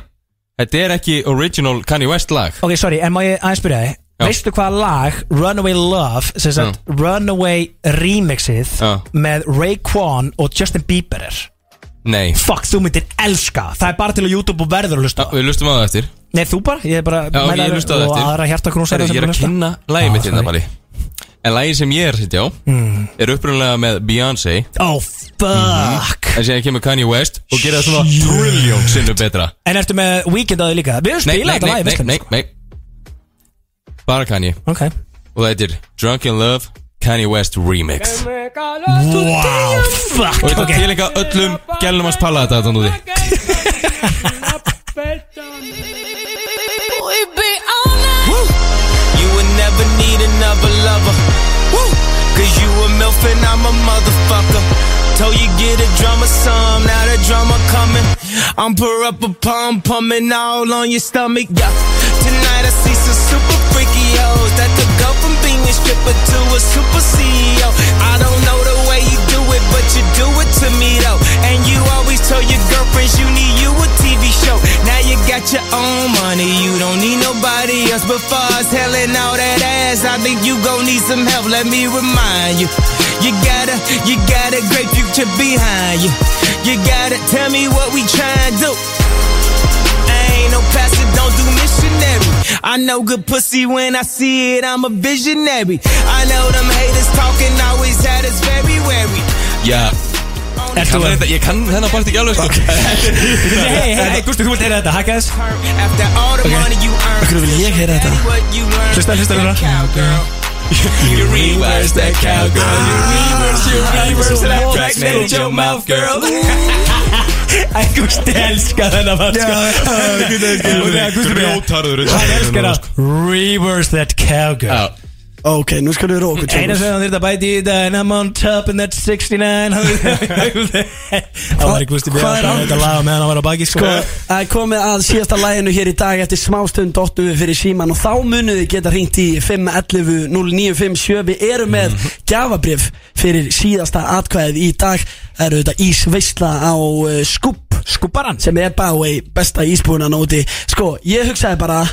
þetta er ekki original Kanye West lag
Ok, sorry, en má ég aðeins byrja þig
Já.
Veistu hvað lag Runaway Love sem sagt Runaway remixið
Já.
með Raekwon og Justin Bieber er
Nei,
Fuck, þú myndir elska Það er bara til að YouTube og verður að
Já,
hlusta á það.
við lustum á það eftir
Nei, þú bara, ég er bara
Já, ok,
mæla
ég
þér
lusta á það
Og
eftir.
aðra hjartaknúsar
Herri, ég er að kynna lagið mitt hérna, Bali En lagið sem ég er að sitja á
Hmm.
Er upprunalega með Beyoncé
Oh, fuck
En síðan kemur Kanye West Og gerir það svona trilljón sinnu betra
En ertu með Weekend að þið líka? Við höfum
Nei, nei,
spilað þetta
nei,
lagi,
nei, nei, nei Bara Kanye
Ok
Og það heitir Drunken Love Kanye West Remix
Wow, fuck
Og þetta
Ok,
okay. tilenga öllum gælum hans palla þetta þannig úti
We be on it.
Woo. You would never need another lover. Woo. Cause you a MILF and I'm a motherfucker. Told you get a drama some, now the drama coming. I'm pour up a pump, pumping all on your stomach. Yeah. Tonight I see some super freaky hoes that could go from being a stripper to a super CEO. I don't know the way you do it, but you do it to me though. And you always tell your girlfriends you need you a TV show. Now you got your own money, you don't need nobody else. But far as helling all that ass, I think you gon' need some help. Let me remind you, you got to you got a great future behind you. You gotta tell me what we tryin' do. I ain't no pastor, don't do missionary. I know good pussy when I see it, I'm a visionary. I know them haters talking always had us very wary.
Já,
ertu
kann
að
þetta- ég kann þennan part ekki (laughs) alveg sko
Hei, hei, hei, Gusti, þú vilt heyra þetta, hakka þess
After all the money you earn,
Akkur vil ég heyra þetta?
what you learn.
Hlusta, hlusta, hlusta.
Cowgirl. You reverse that cowgirl. You reverse, you
Ah.
reverse that track. Made your mouth, girl. (laughs)
Æ, Gusti, elska þennan mann, sko Já, Gusti, elska
Grjótarður
Hann elskar
sko.
að reverse that cowgirl
Ok, nú skal við róka
Eina
tjóðum
sem hann þurft að bæti í þetta And I'm on top in that
(laughs)
69 Það var í Gusti Björn
Hvað er
Það
hann?
var þetta lag meðan hann var á baki sko
Það er komið að síðasta læginu hér í dag Eftir smástund dottum við fyrir síman Og þá munið þið geta hringt í 511 0957 Við erum með gjafabrif fyrir síðasta atkvæðið í dag Það eru þetta ísveisla á uh, skúpp
Skúparan
Sem er by the way besta ísbúinan úti Sko, ég hugsaði bara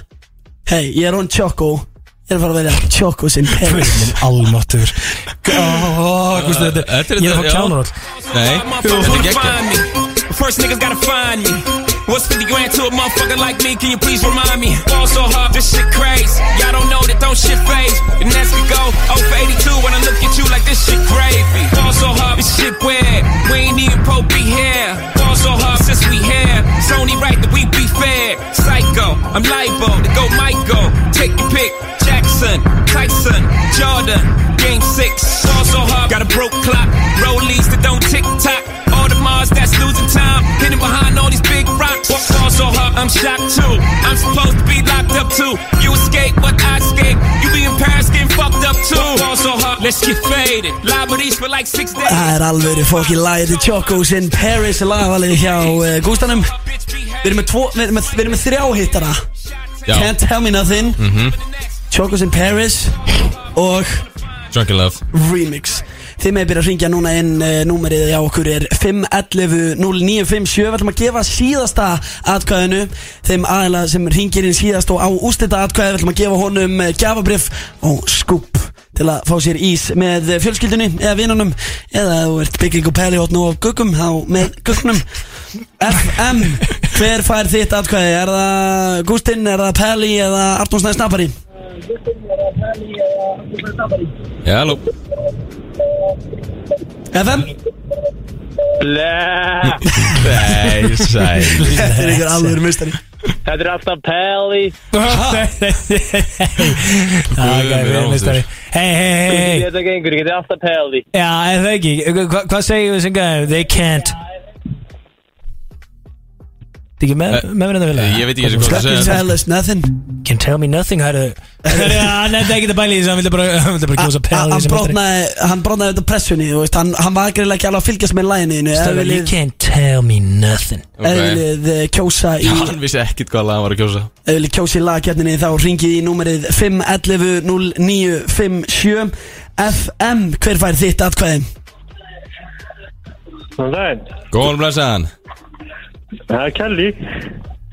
Hei, ég er hún Choco Ég er að fara að velja Choco sinn Paris
Guðminn almáttur Ó, Gusti, þetta
Sko, Þetta er-
Ég er að fá
já.
kjánur
Nei, þetta er geggjað
find me. First niggas gotta find me. What's 50 grand to a motherfucker like me? Can you please remind me? Fall so hard, this shit crazy. Y'all don't know that don't shit phase. And as we go, 0 for 82 when I look at you like this shit gravy. Fall so hard, this shit weird. We ain't even Pope be here. Fall so hard since we here. It's only right that we be fair. Psycho, I'm libo to go Michael. Take your pick. Jackson, Tyson, Jordan, Game 6. Fall so hard, got a broke clock. Rollies that don't tick tock. All the Mars that's losing time, hidden behind all these big rocks. What's all so hard? I'm shocked too. I'm supposed to be locked up too. You escape, but let's get faded. Libraries for like six days.
Það er alveg fokkin lagið til Chocos in Paris lagavalið hjá uh, Gústanum
Bitch, be
Við erum með, tvo, við erum með, við erum með þrjá hittara
Já.
Can't Tell Me Nothing Chocos in Paris og
Drunken Love
Remix Þið með byrja að ringja núna inn uh, Númerið hjá okkur er 511 0957 Við ætlum að gefa síðasta atkvæðinu Þeim aðila sem ringir inn síðast og á ústita atkvæði Við ætlum að gefa honum uh, gjafabrif og skúp til að fá sér ís með eh, fjölskyldunni eða vinunum eða ef þú ert bygging og pæli hotn og guggum þá með guggnum FM, hver fær þitt atkvæði? Er það Gústinn, er það Pæli eða Arnúsnæði Snapari?
Já, halló
FM?
(laughs) Nei, sæl
Þetta er einhver alvegur mistari
Þetta er alltaf Pelli
Það er
Guð minn
verið mistari
almáttugur.
Hei, hei, hei, hei
Þetta gengur, þetta er alltaf Pelli
Já, er það ekki Hva- Hvað segjum við sem gæðum? They can't Það er ekki með- meðverðan að vilja
Eh, Ég veit ekki eins og hvað það
Fucking
segja
tell us nothing
Can tell me nothing how to Herðu, Hann er ekki að bæla í þessu Hann vildi bara Hann vildi bara kjósa
Hann
pæla í
hann
þessu
brotnaði, hann brotnaði auðvitað pressunni þú veist, hann, hann var greinilega ekki alveg að fylgjast með læginni Ef
Stefan, You
viljið
can't tell me nothing
ef viljið, eh, kjósa í
Hann vissi ekkit hvað lag hann var að kjósa
Ef þið viljið kjósa í lagkjarninni þá ringið í númerið 511 0957 FM, hver fær þitt atkvæði?
Þannig að
Góðan blæsaðan
það er Kelly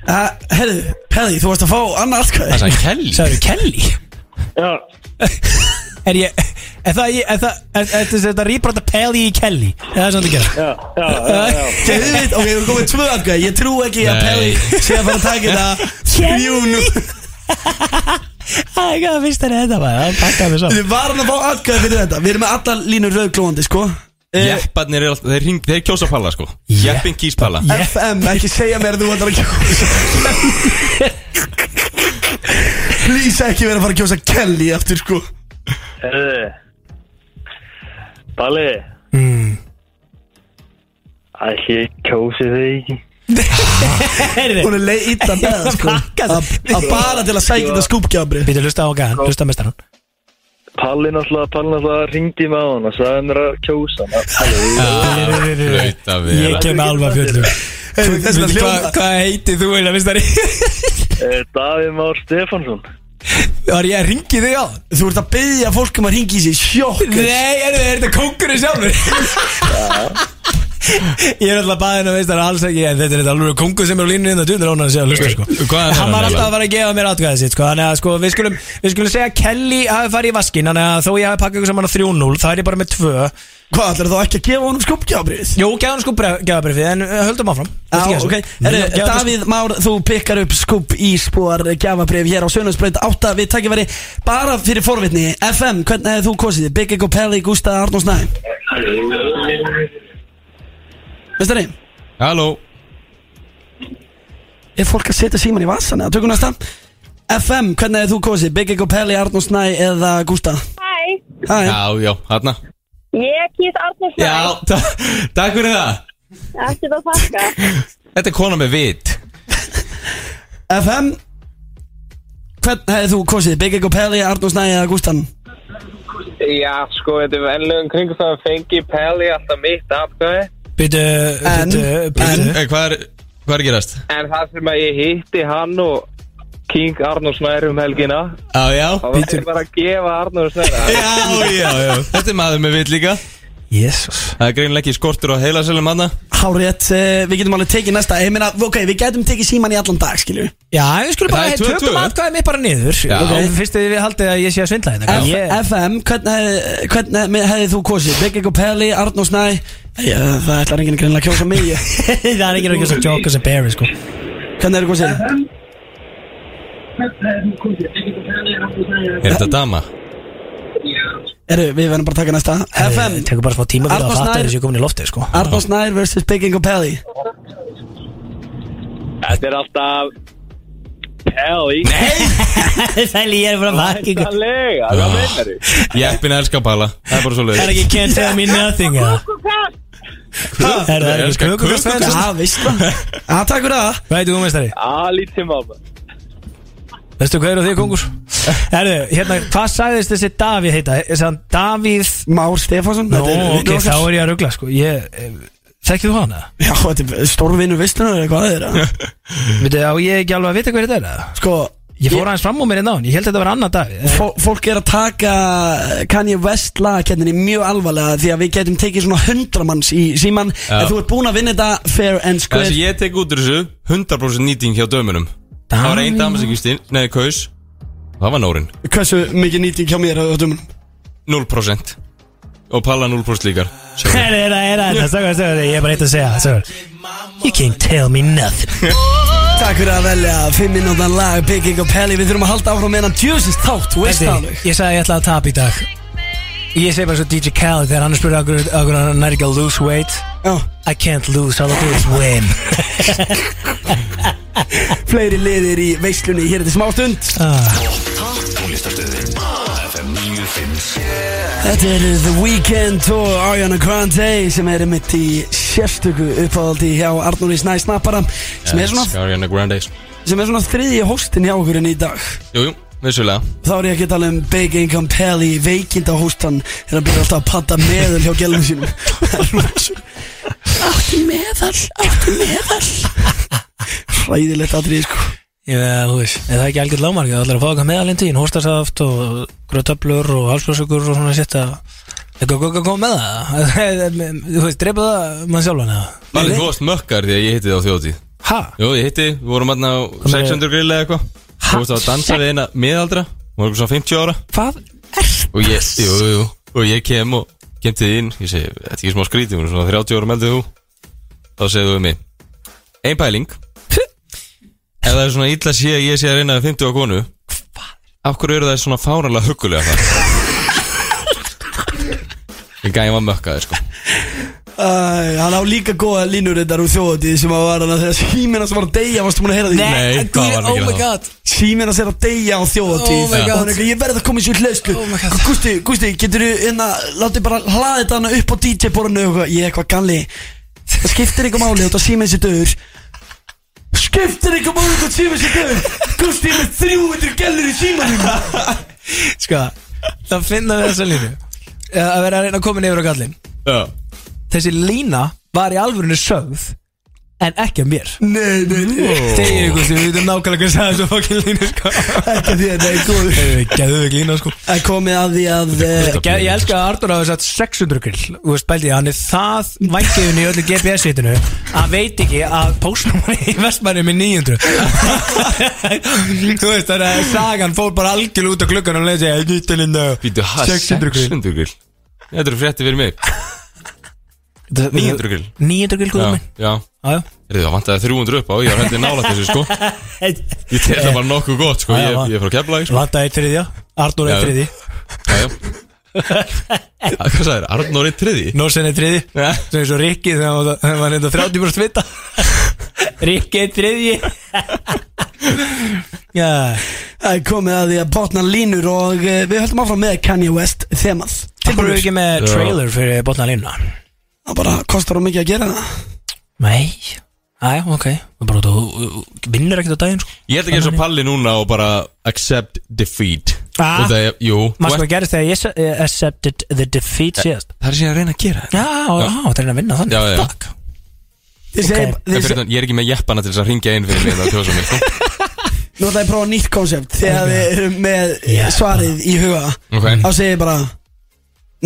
Uh, Herðu, Pelli, þú varst að fá annað atkvæði
Það er Kelly
Sæður, Kelly
Já,
Er ég Er það Er það Er er- er þetta rýbrota pæli í Kelly Er það svona að gera
já, já, já, já.
Þau
(laughs)
veit, ok, við erum komið tvö atkvæði Ég trú ekki að
Nei.
Pelli sé að fara að taka þetta Jú, nú,
Það er ekki að finnst henni þetta bara Það pakkaði mig saman
við varum að fá atkvæði fyrir þetta Við erum með allar línur rauðglóðandi, sko Eh,
Jepparnir er alltaf Þeir, hring, þeir kjósa palla sko
Jeppa-
Jeppin kýs palla
Jepp.
FM, ekki segja mér að þú ætlar að kjósa Please ekki vera að fara að kjósa Kelly aftur sko
Herðu Palli Ætli ég kjósi þig ekki
Hún
Herðu
er leið illa með það sko
Pakkað.
Að að bara til að sækja þetta skúpgjafri
Býtu að hlusta á gæðan Hlusta mestar hann
Palli náttúrulega, Palli náttúrulega ringdi með hann og sagði mér að kjósa hann
(laughs)
Hlaut að vera
Ég kem með alva fjöldu
Þess að hljóma
Hvað heiti þú eina mistari
eh, Davíð Már Stefánsson
(laughs) Var ég að ringi þig á
Þú ert að byggja fólk um að ringi í sig sjokk
Nei, er þetta kókurinn sjálfur (laughs) Ég er alltaf baðin að veist það er alls ekki En þetta er þetta alveg kongur sem er á línunni Það djúður án að sé að hlusta sko
Hvað er
Hann
hann
var alltaf að
eiginlega?
fara að gefa mér atkvæðið sitt sko Þannig að sko við skulum, við skulum segja að Kelly hafi farið í vaskin Þannig að þó ég hafi pakkað ykkur saman á 3-0 Það er ég bara með 2
Hvað ætlar þú ekki að gefa honum skúpgjafri?
Jú, gefa hann sko gefabrifið En uh, höldum áfram
Já,
Viltu gefa
ok
þessu?
Herru,
Gefa þetta
Davíð Már, þú pikkar upp skúb í spór gjafabrif hér á Sjónusbreyt 8 við takkifæri bara fyrir forvitni FM, hvernig hefði þú kosið? þig? Big Ego Pelli, Gústa, Arnús Næ Mestari,
Halló
er fólk að setja síman í vasan eða tökum næsta FM, hvernig hefði þú kosið? Big Ego Pelli, Arnús Næ eða Gústa?
Hæ,
Hæ,
Já, já, hann
ég kýr Arnur Snæ,
Já, ta- takk fyrir það
ekki það þakka.
Þetta er kona með vit
FM Hvernig hefði þú kosið? Big Ego Pelli, Arnús Næ eða Gústan?
Já, sko, þetta er vennlegum kringum það að fengi Pelli alltaf mitt afgöði
Bíddu,
En-
bíddu,
en-
bíddu
Eh, Hvað er, hvað er að gerast?
En það sem að ég hitti hann og King Arnór Snæri um helgina
Já, já
þá var ég bara að gefa Arnór Snæri
Já, já, já Þetta er maður með vit líka
Jésús
Það er greinlega ekki skortur á heilaselum hann
Hárétt, uh, við getum alveg tekið næsta Ég meina, ok, við getum tekið síman í allan dag, skilju
Já, við skulum
Það
bara,
er
hey,
2-2.
tökum atkvæðið mitt bara niður
Já.
okay. Fyrst þið við haldið að ég sé að svindla þetta
F
Ég-
FM, hvernig hefði hvern hef þú kosið? Big Ego Pelli, Arnó Snæ Já, Það ætlar enginn greinlega að kjósa
(laughs)
mig Hvernig
(laughs) Það er ekki ekki svo jokas and berry sko
hefði þú kosið?
Er þetta dama?
Eru, við verðum bara að taka næsta FM,
Ég Eh, Tekur bara smá tíma fyrir
Arnór
að fatta
Snær.
þessu ég er komin í loftið sko (laughs)
Arnó Snæ vs. Big Ego Pelli
Þetta er alltaf Pelli
Fæli, ég er bara fucking
Sannlega, hvað meinar þú?
Jeppin elskar palla Það er bara svo
Það er ekki can't tell me nothing eða? Er það ekki
Elskar kökukast.
kökukast fæðast?
Já, veist það
(laughs)
Já, takk fyrir það
Hvað heitir þú meistari?
Alítið mamma
(laughs) Veistu hvað eru þið kongur? Herðu, hérna, hvað sagðist þessi Davíð heita? Þessi hann Davíð
Már Stefánsson
Nó,
þetta er-
ok, þá er ég að ruggla sko Ég, eh, þekkið þú hana?
Já, þetta er stórvinu veislunar eða hvað er það? Mm.
Veitu, á ég ekki alveg að vita hver þetta er eða?
Sko,
Ég fór aðeins fram á mér í náðin, ég held að þetta var annar Davíð eh.
Fó, fólk er að taka Kanye West lagakenninni mjög alvarlega því að við getum tekið svona 100 manns í síman en þú ert búin að vinna þetta fair and
Það
square
sem ég tek út úr þessu 100% nýting hjá dömunum Það var einn dama sem kýrst inn, neði kaus Það var Nórin,
Hversu mikið nýting hjá mér á dömum?
0% Og Palla 0% líkar
Herðu, herðu, herðu, herðu, sögur, sögur, ég er bara eitt að segja, sögur You can't tell me nothing
Takk fyrir að velja 5 minútan lag Bygging og Pelli Við þurfum að halda áfram meðan djöfisins þátt Þú veist það
Þetta,
alveg
Ég sagði ég ætla að tapa í dag Ég segi bara svo DJ Khaled þegar hann er spurði okkur, okkur hann nær ekki að lose weight
Já,
I can't lose, all I do is win
(laughs) fleiri liðir í veislunni Hér er þetta smástund
Ah.
Þetta er The Weeknd og Ariana Grande sem er mitt í sérstöku uppáhaldi hjá Arnóri Snæ Snappara sem er svona,
Ariana Grande
sem er svona þriðji hóstin hjá okkur en í dag
Jú, jú, vissulega
Þá er ég ekki að tala um Big Income Pelli veikinda hóstan þegar hann byrjar alltaf að panta meðal hjá gælum sínum Það er rosa. Áttu meðal, áttu meðal (laughs) Hræðilegt aðrið sko
Já, þú veist, er það ekki algjörð lámarkið Það ætlar að fá eitthvað meðalindi í hóstasaft og grötöflur og halsblössugur og svona sétt að eitthvað góð að koma með það (laughs) Þú veist, dreipa það mann sjálfan eða
Malin, þú varst mökkar því að ég hitti þið á þjóðtíð
Ha?
Jú, ég hitti, við vorum aðna á
með-
600 grill eða eitthvað Þú varst að dansa við eina miðaldra Hún var eitthvað svona 50 ára
Hvað?
Og ég, jú, jú, og ég kem og kemti þið inn Ég segi, þetta er ekki smá skrítið, hún er svona 30 ára meldið þú Þá segðu við mig Ein (laughs) pæling Ef það er svona illa sé að ég sé að reyna við 50 á konu Af hverju eru það svona fáranlega huggulega það? Ég gæði var mökkaði, sko
Æ, Hann á líka góða línur þetta úr þjóðatíð sem að var hann að þegar símina sem var að deyja varstu múin að heyra því
Nei, það var ekki það
god
Símina sem er að deyja á þjóðatíð
Oh
og
my God.
hann er eitthvað, ég verði að koma í svo hlæslu
Oh my God.
Gústi, Gústi, getur þú hérna látið bara hlaða þetta hann upp á DJ-borinu og eitthvað, ég eitthvað galli það skiptir eitthvað máli þetta síminn sér döður skiptir eitthvað máli þetta síminn sér döður Gústi, ég er með 300 gellur í símanum
(laughs) Ska, það finna við þessa línu Eh, Að vera að reyna að koma nefur á gallin
Já,
Þessi lína var í alvörinu sögð en ekki að mér
Nei, nei, nei,
Þegar ykkur sem við veitum nákvæmlega hvað sagði þessu fokkin línu sko
ekki því að það er góður
Gæðu ekki lína sko
Það er komið að því að eh,
Ég, ég elska að Artur hafa sett 600 grill Þú veist bældi, hann er það vængiðun í öllu GPS-vitinu Hann veit ekki að póstnúmeri í Vestmanni með 900 Þú veist, þannig að sagan fór bara algjörlega út á klukkan og leiði segja Nýttilinn
býtu, hæ,
600 grill
600 grill Þetta eru frétti fyrir mig 900 grill
900 grill, góður
Já,
minn
já
Já, já.
Er það vantaði 300 upp á, ég var heldur nálægt þessu,
(laughs)
sko Ég tel það bara nokkuð gott, sko
Já, já,
Ég,
va-
ég er frá Keflavík, sko
Vanda eitt þriðja, Artur
Já.
eitt þriðji
Já, já. Að, Hvað sagðir, Arnór er triði?
Norsen eitt þriðji
Já.
Svo eins og Rikki þegar hann var- þegar hann var reynda 30%
(laughs)
vita Rikki eitt þriðji (laughs) Já
Það er komið að því að botna línur og eh, við höldum áfram með Kanye West þemað
Það voru ekki með
Já.
trailer fyrir botna línuna
Það bara kostar hún mikið að gera það
Nei Æ, ok Það bara þú þú- þú vinnur ekkert á daginn sko
Ég held ekki eins og palli núna og bara accept defeat
Ah.
Og það er, jú þú
Maður sko gerist þegar ég se- eh, accepted the defeat
ert-
síðast
Það er síðan að reyna að gera þetta
Já, já, það er að vinna þannig
Já, já, já.
Fuck.
Þið
Ok.
segir,
En
þið
fyrir
segir,
þannig, ég er ekki með jeppana til þess að ringja inn fyrir mig Það er tjóðsum mig, sko
nú ætla ég að prófa nýtt konsept Þegar við erum með
Yeah.
svarið í huga
Ok.
Þá segir ég bara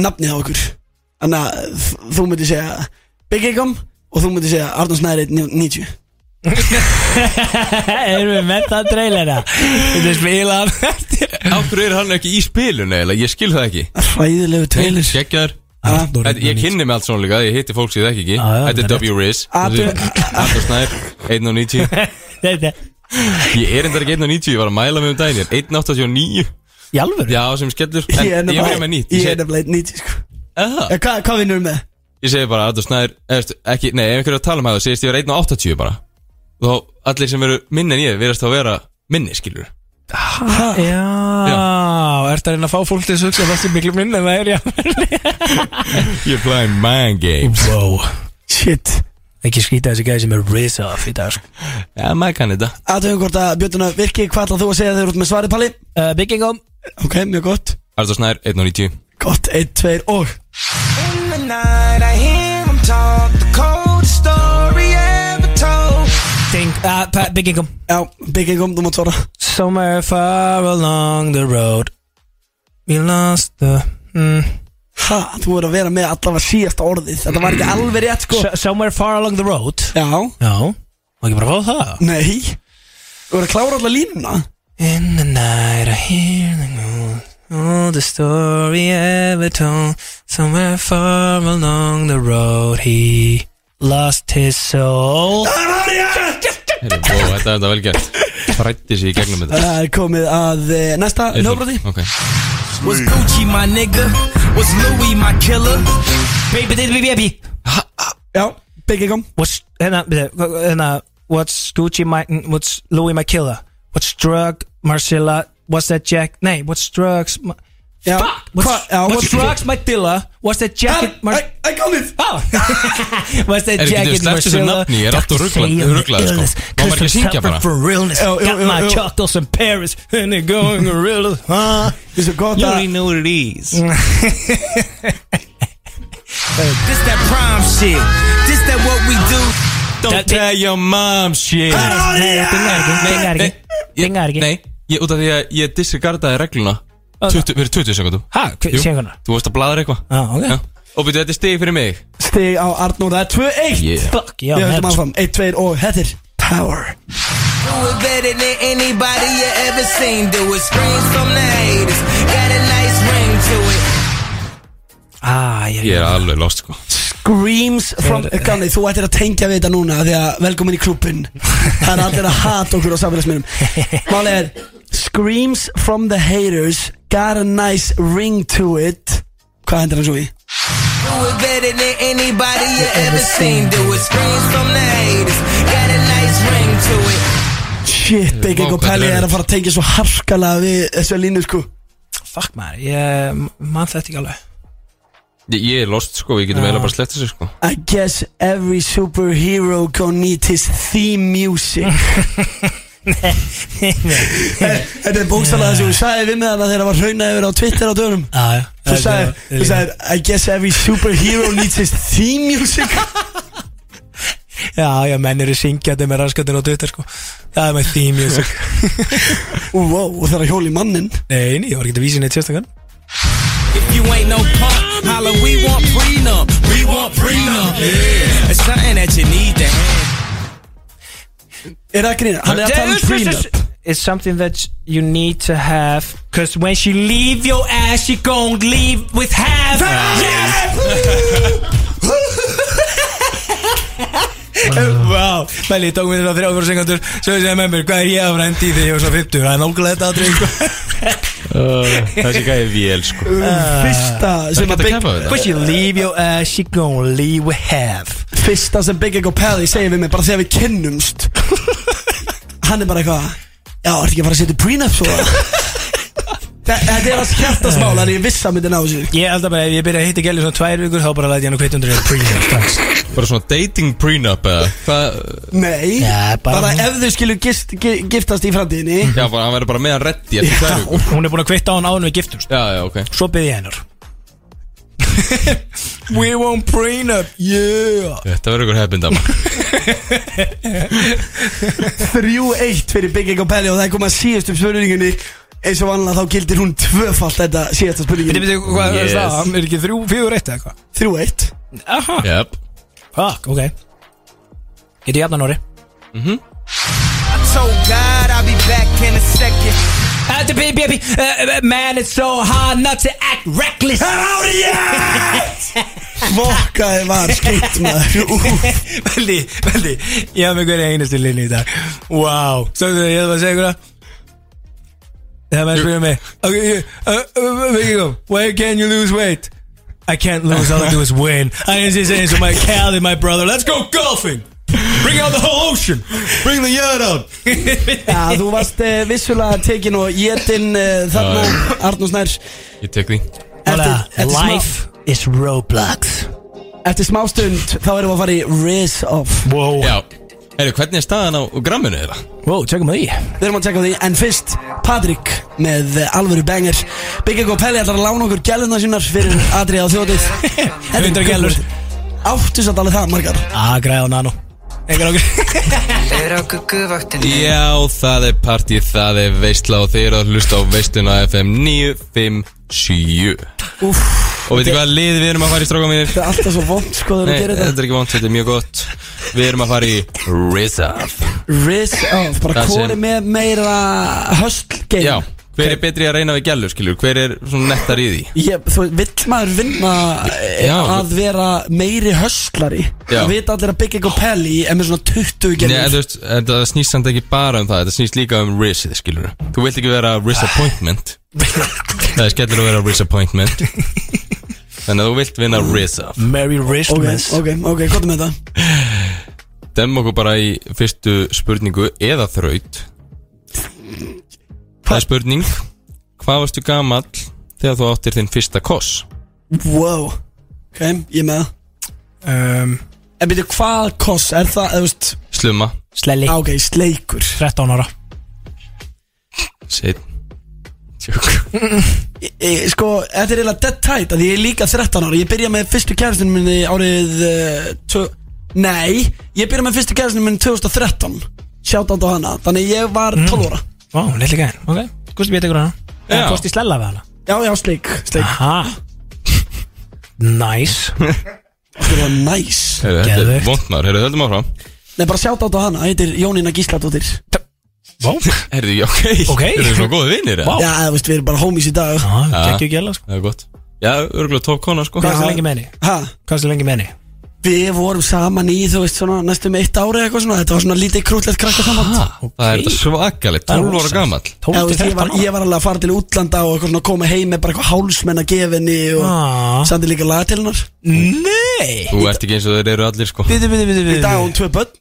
Nafnið á okkur Þannig að þ- þú myndir segja Big Egom og þú myndir segja Arnón Snæri 90
Erum við með það
(laughs)
trailera Þetta er spilað eftir
Ákveður er hann ekki í spilun eiginlega, ég skil það ekki
Hræðilegu trailer
Gekkjar
Arnór
Þetta- Ég kynni mig allt svona líka, ég hitti fólk sem ég þekki ekki
Já, já,
Þetta er
þetta er
W. Riz
Atu-
Arnur Snær, 1.90
Þetta
Ég er endar ekki 1.90, ég var að mæla mig um daginn Ég er 1.89
Í alvöru
Já, sem skellur En
Ég er
Ég er með
nefnilega
nýtt
ég er
Ég segi-
nefnilega 90 sko
Aha.
Eh, Hvað hvað vinnur við með?
Ég segi bara Arnur Snær eftir, ekki, Nei, ef einhverju er að tala um það Segist ég var 1.80 bara Þá allir sem eru minni en ég Verðast þá að vera minni, skilur
Já, ertu að reyna að fá fólk til að hugsa að það sé miklu minna en það er já
You're playing mind games
Wow
Shit
Ekki skrýta þessi gæði sem er Rizza í dag sko.
Já, maður kanni þetta
Aðtöfum hvort að Björnuna virki Hvað ætlað þú að segja þegar þú ert með svarið Palli?
uh, Byggingum
Ok, mjög gott
Arður Snær, 1.90
Gott, 1, 2 og
In the night, I hear him talk, the coldest story ever told.
Ding, uh, Byggingum
Já, byggingum, þú mátt svara
Somewhere far along the road We lost the mm.
Ha, þú er að vera með allavega síðasta orðið Þetta var ekki alveg rétt sko
S- Somewhere far along the road
Já,
Já, má ekki bara fá það
nei Þú er að klára allavega línuna
In the night I hear the news All the story ever told Somewhere far along the road He lost his soul
Það var rétt
Heyrðu, vó, Þetta er þetta vel gert Frætti sig í gegnum þetta
Það er komið að eh, næsta hljóbroti
Ok
Was Gucci my nigga? Was Louis my killer?
Baby, baby, baby
Já, byggingum
What's, hérna, byrju, hva- hérna What's Gucci my, what's Louis my killer What's drug, Marcella What's that jack, nei, what's drugs my,
Já,
Fuck, what's,
Hva- já,
what's drugs my dilla What's that jacket, Mar-
Það er komið
(laughs) Oh, what's that
Er ekki þau
jacket
sleppt þessu
Marcella?
nafni? Ég er alltaf ruglað- ruglað, sko. Má maður ekki syngja bara?
for realness
Jú, jú,
Got
jú,
my
jú.
chocolates in Paris And they're going gorillas huh?
Þú veist, gott
You
að
already know what it is
This that prime shit. This that what we do.
Don't tell your mom shit
Nei, þetta er ekki, þetta er
Nei,
ekki
Eh, ég-
Gengar ekki.
Nei, ég, út af því að ég disregardaði regluna 20 Fyrir 20 sekundum
Ha, hvað, séu hvernig?
Þú varst að bladra eitthvað
Já, Ah, ok.
Já. Og byrju, þetta er stig fyrir mig
Stig á Arnór, það er 2-1
Yeah.
Fuck, já,
Við höfum
hefðum
áfram, 1-2 og hettir Power
Do it better than anybody you ever seen. Do it. Screams from the haters. Got a nice ring to it.
Ah, ég
Ég
er
er alveg lost sko
Screams from
Þeir-
Ganni, Eh, þú ættir að tengja við þetta núna Því að velkomin í klubin Það er allir að hata okkur á samfélagsmiðlum Málið er Screams from the haters Got a nice ring to it Hvað hendur hann svo í?
Do it better than anybody you ever seen. Do it. Screams from the haters. Got a nice ring to it.
Shit, Big
Vá,
Ego
hvað
Pelli
þetta er
er að fara að tengja svo harkalega við þessu línu sko
Fuck maður, ég mann þetta ekki alveg
Ég, ég er lost sko, ég getum
Já.
eiginlega bara slett þessu sko
I guess every superhero gonna need his theme music Þetta er bókstala þess að þú sagði við með hana þegar það var hrauna yfir á Twitter á dörum
Ah, Já, já
Þú sagði, þú sagði, I guess every superhero needs his theme music
Já, já, menn eru syngjandi með raskatin og duttir sko Það er með theme music
Wow, og það er að hjóla í mannin
Nei, nei, ég var ekki að vísa neitt sérstakann
If you ain't no punk, holla, we want prenup. We want prenup. Yeah. It's something that you need to have.
Er það að grýna? Hann er að tala um prenup
It's something that you need to have Cause when she leave your ass She gon' leave with half (laughs) Vá, Mæli, ég tók mér þetta á þrjáfjóra sekundur Svo ég segi með mér, hvað er ég að frendi þegar ég var svo 50 Það er nákvæmlega þetta (laughs) aðrið sko.
Uh, Þessi gæði vél sko
Fyrsta sem
Það
að Big
er ekki að kefa við
But you leave your ass, she gon' leave with half
Fyrsta sem Big Ego Pelli segir við mig bara þegar við kynnumst Hann er bara eitthvað Já, ertu ekki að fara að setja prenup svo Þa- Þetta er að skjarta smál En ég viss að myndi ná þessu
Ég held að bara ef ég byrja að hitta gæli svona tvær vikur þá bara læti ég hann og kvittundur er príðan strax
Bara svona dating prenup eða Hvað
Nei,
Ja, bara-
bara, ef þau skilur gist, gi- giftast í framtíðinni
Já, bara, hann verður bara með hann reddi eftir
Já.
tvær vikur
Hún er búin að kvitta á hann án við giftumst
Já, já, ok
Svo byrði ég hennar We won't prenup, yeah
Þetta verður ykkur heppindam
3-1 fyrir Big Egg og Pelli og það er komið að síðastu spurningunni eins og vanlega þá gildir hún tvöfalt þetta síðasta
Þetta
spurningin
betur hvað
Yes.
er það, hann er ekki þrjú, fjögur, eitt eða eitthvað
3-1
Aha,
Jep
fuck, ok Getur ég afna Nóri
I told God I'll be back in a second.
Uh, baby, baby, uh, man it's so hard not to act reckless
Vokkaði var skipt maður Úff.
Veldi, veldi, ég hafði með hverja einustu linni í dag Wow, svo þú, ég hef að segja ykkur að Það menn spyrir mig Ok, ég, uh, uh, uh, where can you lose weight? I can't lose, all I do is win I didn't see saying so my Cali, my brother, let's go golfing Bring out the whole ocean Bring the yard out
Já, þú varst uh, vissulega tekin og jetin uh, þarna Arnús Nær
Ég tek því
Eftir- eftir smá-
is Roblox
Eftir smástund þá erum við að fara í Riz Off
Wow,
Já Herru, hvernig er staðan á gramminu þeirra?
wow, tjökkum að því
Við erum að tjekka á því En fyrst, Patrik með eh, alvöru banger Byggja og Pelli ætlar að lána okkur gæluna sínar Fyrir atriða á
(laughs)
þjótið Þetta er
100 gælur.
gömul- Áttu satt alveg það margar
Að græða Ah, á nano Engar okkur
Já, það er partí, það er veistla og þeir eru að hlusta á veistluna FM 957
Úff,
Og veitir hvað lið við erum að fara í stráka mínir?
þetta er alltaf svo vond sko þegar
Nei, eh,
við gerum
þetta
þetta
er ekki vant, þetta er mjög gott Við erum að fara í Rizaf
Riz Off, bara
Það sem-
kori með meira höstl game
Já, hver er betri að reyna við gælur, skilur? Hver er svona nettar í því?
Ég, þú veist, vill maður vinna eh,
Já.
að vera meiri höstlari
Já.
Það vita allir að byggja eitthvað pelli en með svona 20
Nei, en
gerður
þú veist, en það snýst samt ekki bara um það Þetta snýst líka um risið, skilur Þú vilt ekki vera disappointment (laughs) Það er skellur að vera disappointment Þannig að þú vilt vinna ris af
Mary
Ok,
Wristmans
ok, ok, hvað er með það?
Dömm okkur bara í fyrstu spurningu Eða þraut Það er spurning Hvað varstu gamall Þegar þú áttir þinn fyrsta koss
Wow, ok, ég er með það
um,
En byrju, hvað koss er það, eða veist
Sluma,
Slelli,
á, Ok, sleikur
13 ára
sit Tjók
ég, ég, Sko, þetta er eiginlega dead tight af Því ég er líka 13 ára Ég byrja með fyrstu kæristinu minni árið uh, tjö, Nei, ég byrja með fyrstu kæristinu minni 2013 Sjátt á hana Þannig ég var
Mm.
12 ára
Vá, lilli gæðin, ok Kosti bíta ykkur hana
Já.
Eða Kosti slella við hana
Já, já, sleik
Ah.
Sleik,
Aha Nice
þetta var næs
Heyrðu, Þetta er
Geðveikt.
vond maður, heyrðu, höldum áfram
Nei, bara sjátt á hana, heitir Jónína Gísladóttir
(laughs) Vá
Heyrðu, já, ok
Ok.
Eru þið svona góði vinnir?
Vá.
Já, eða veist, við erum bara homies í dag
Gekki ekki alveg sko
Það er gott Já, örgulega top kona, sko
Hvað er
Já.
það lengi með henni?
Ha,
Hvað er það lengi með henni?
við vorum saman í, þú veist, svona næstum eitt ári eða eitthvað svona Þetta var svona lítið krútlegt krakka saman
okay. Það er þetta svakalegt, 12 ára gamall
12
Já, þú
til
veist, ég,
13
var,
ára
ég var alveg að fara til útlanda og eitthvað svona koma heim með bara eitthvað hálsmenn að gefa henni og
Ah.
sendi líka laga til hennar
Nei
Þú ert ekki eins og þeir eru allir sko
Bíti, bíti, bíti,
Í dag á hún tvö börn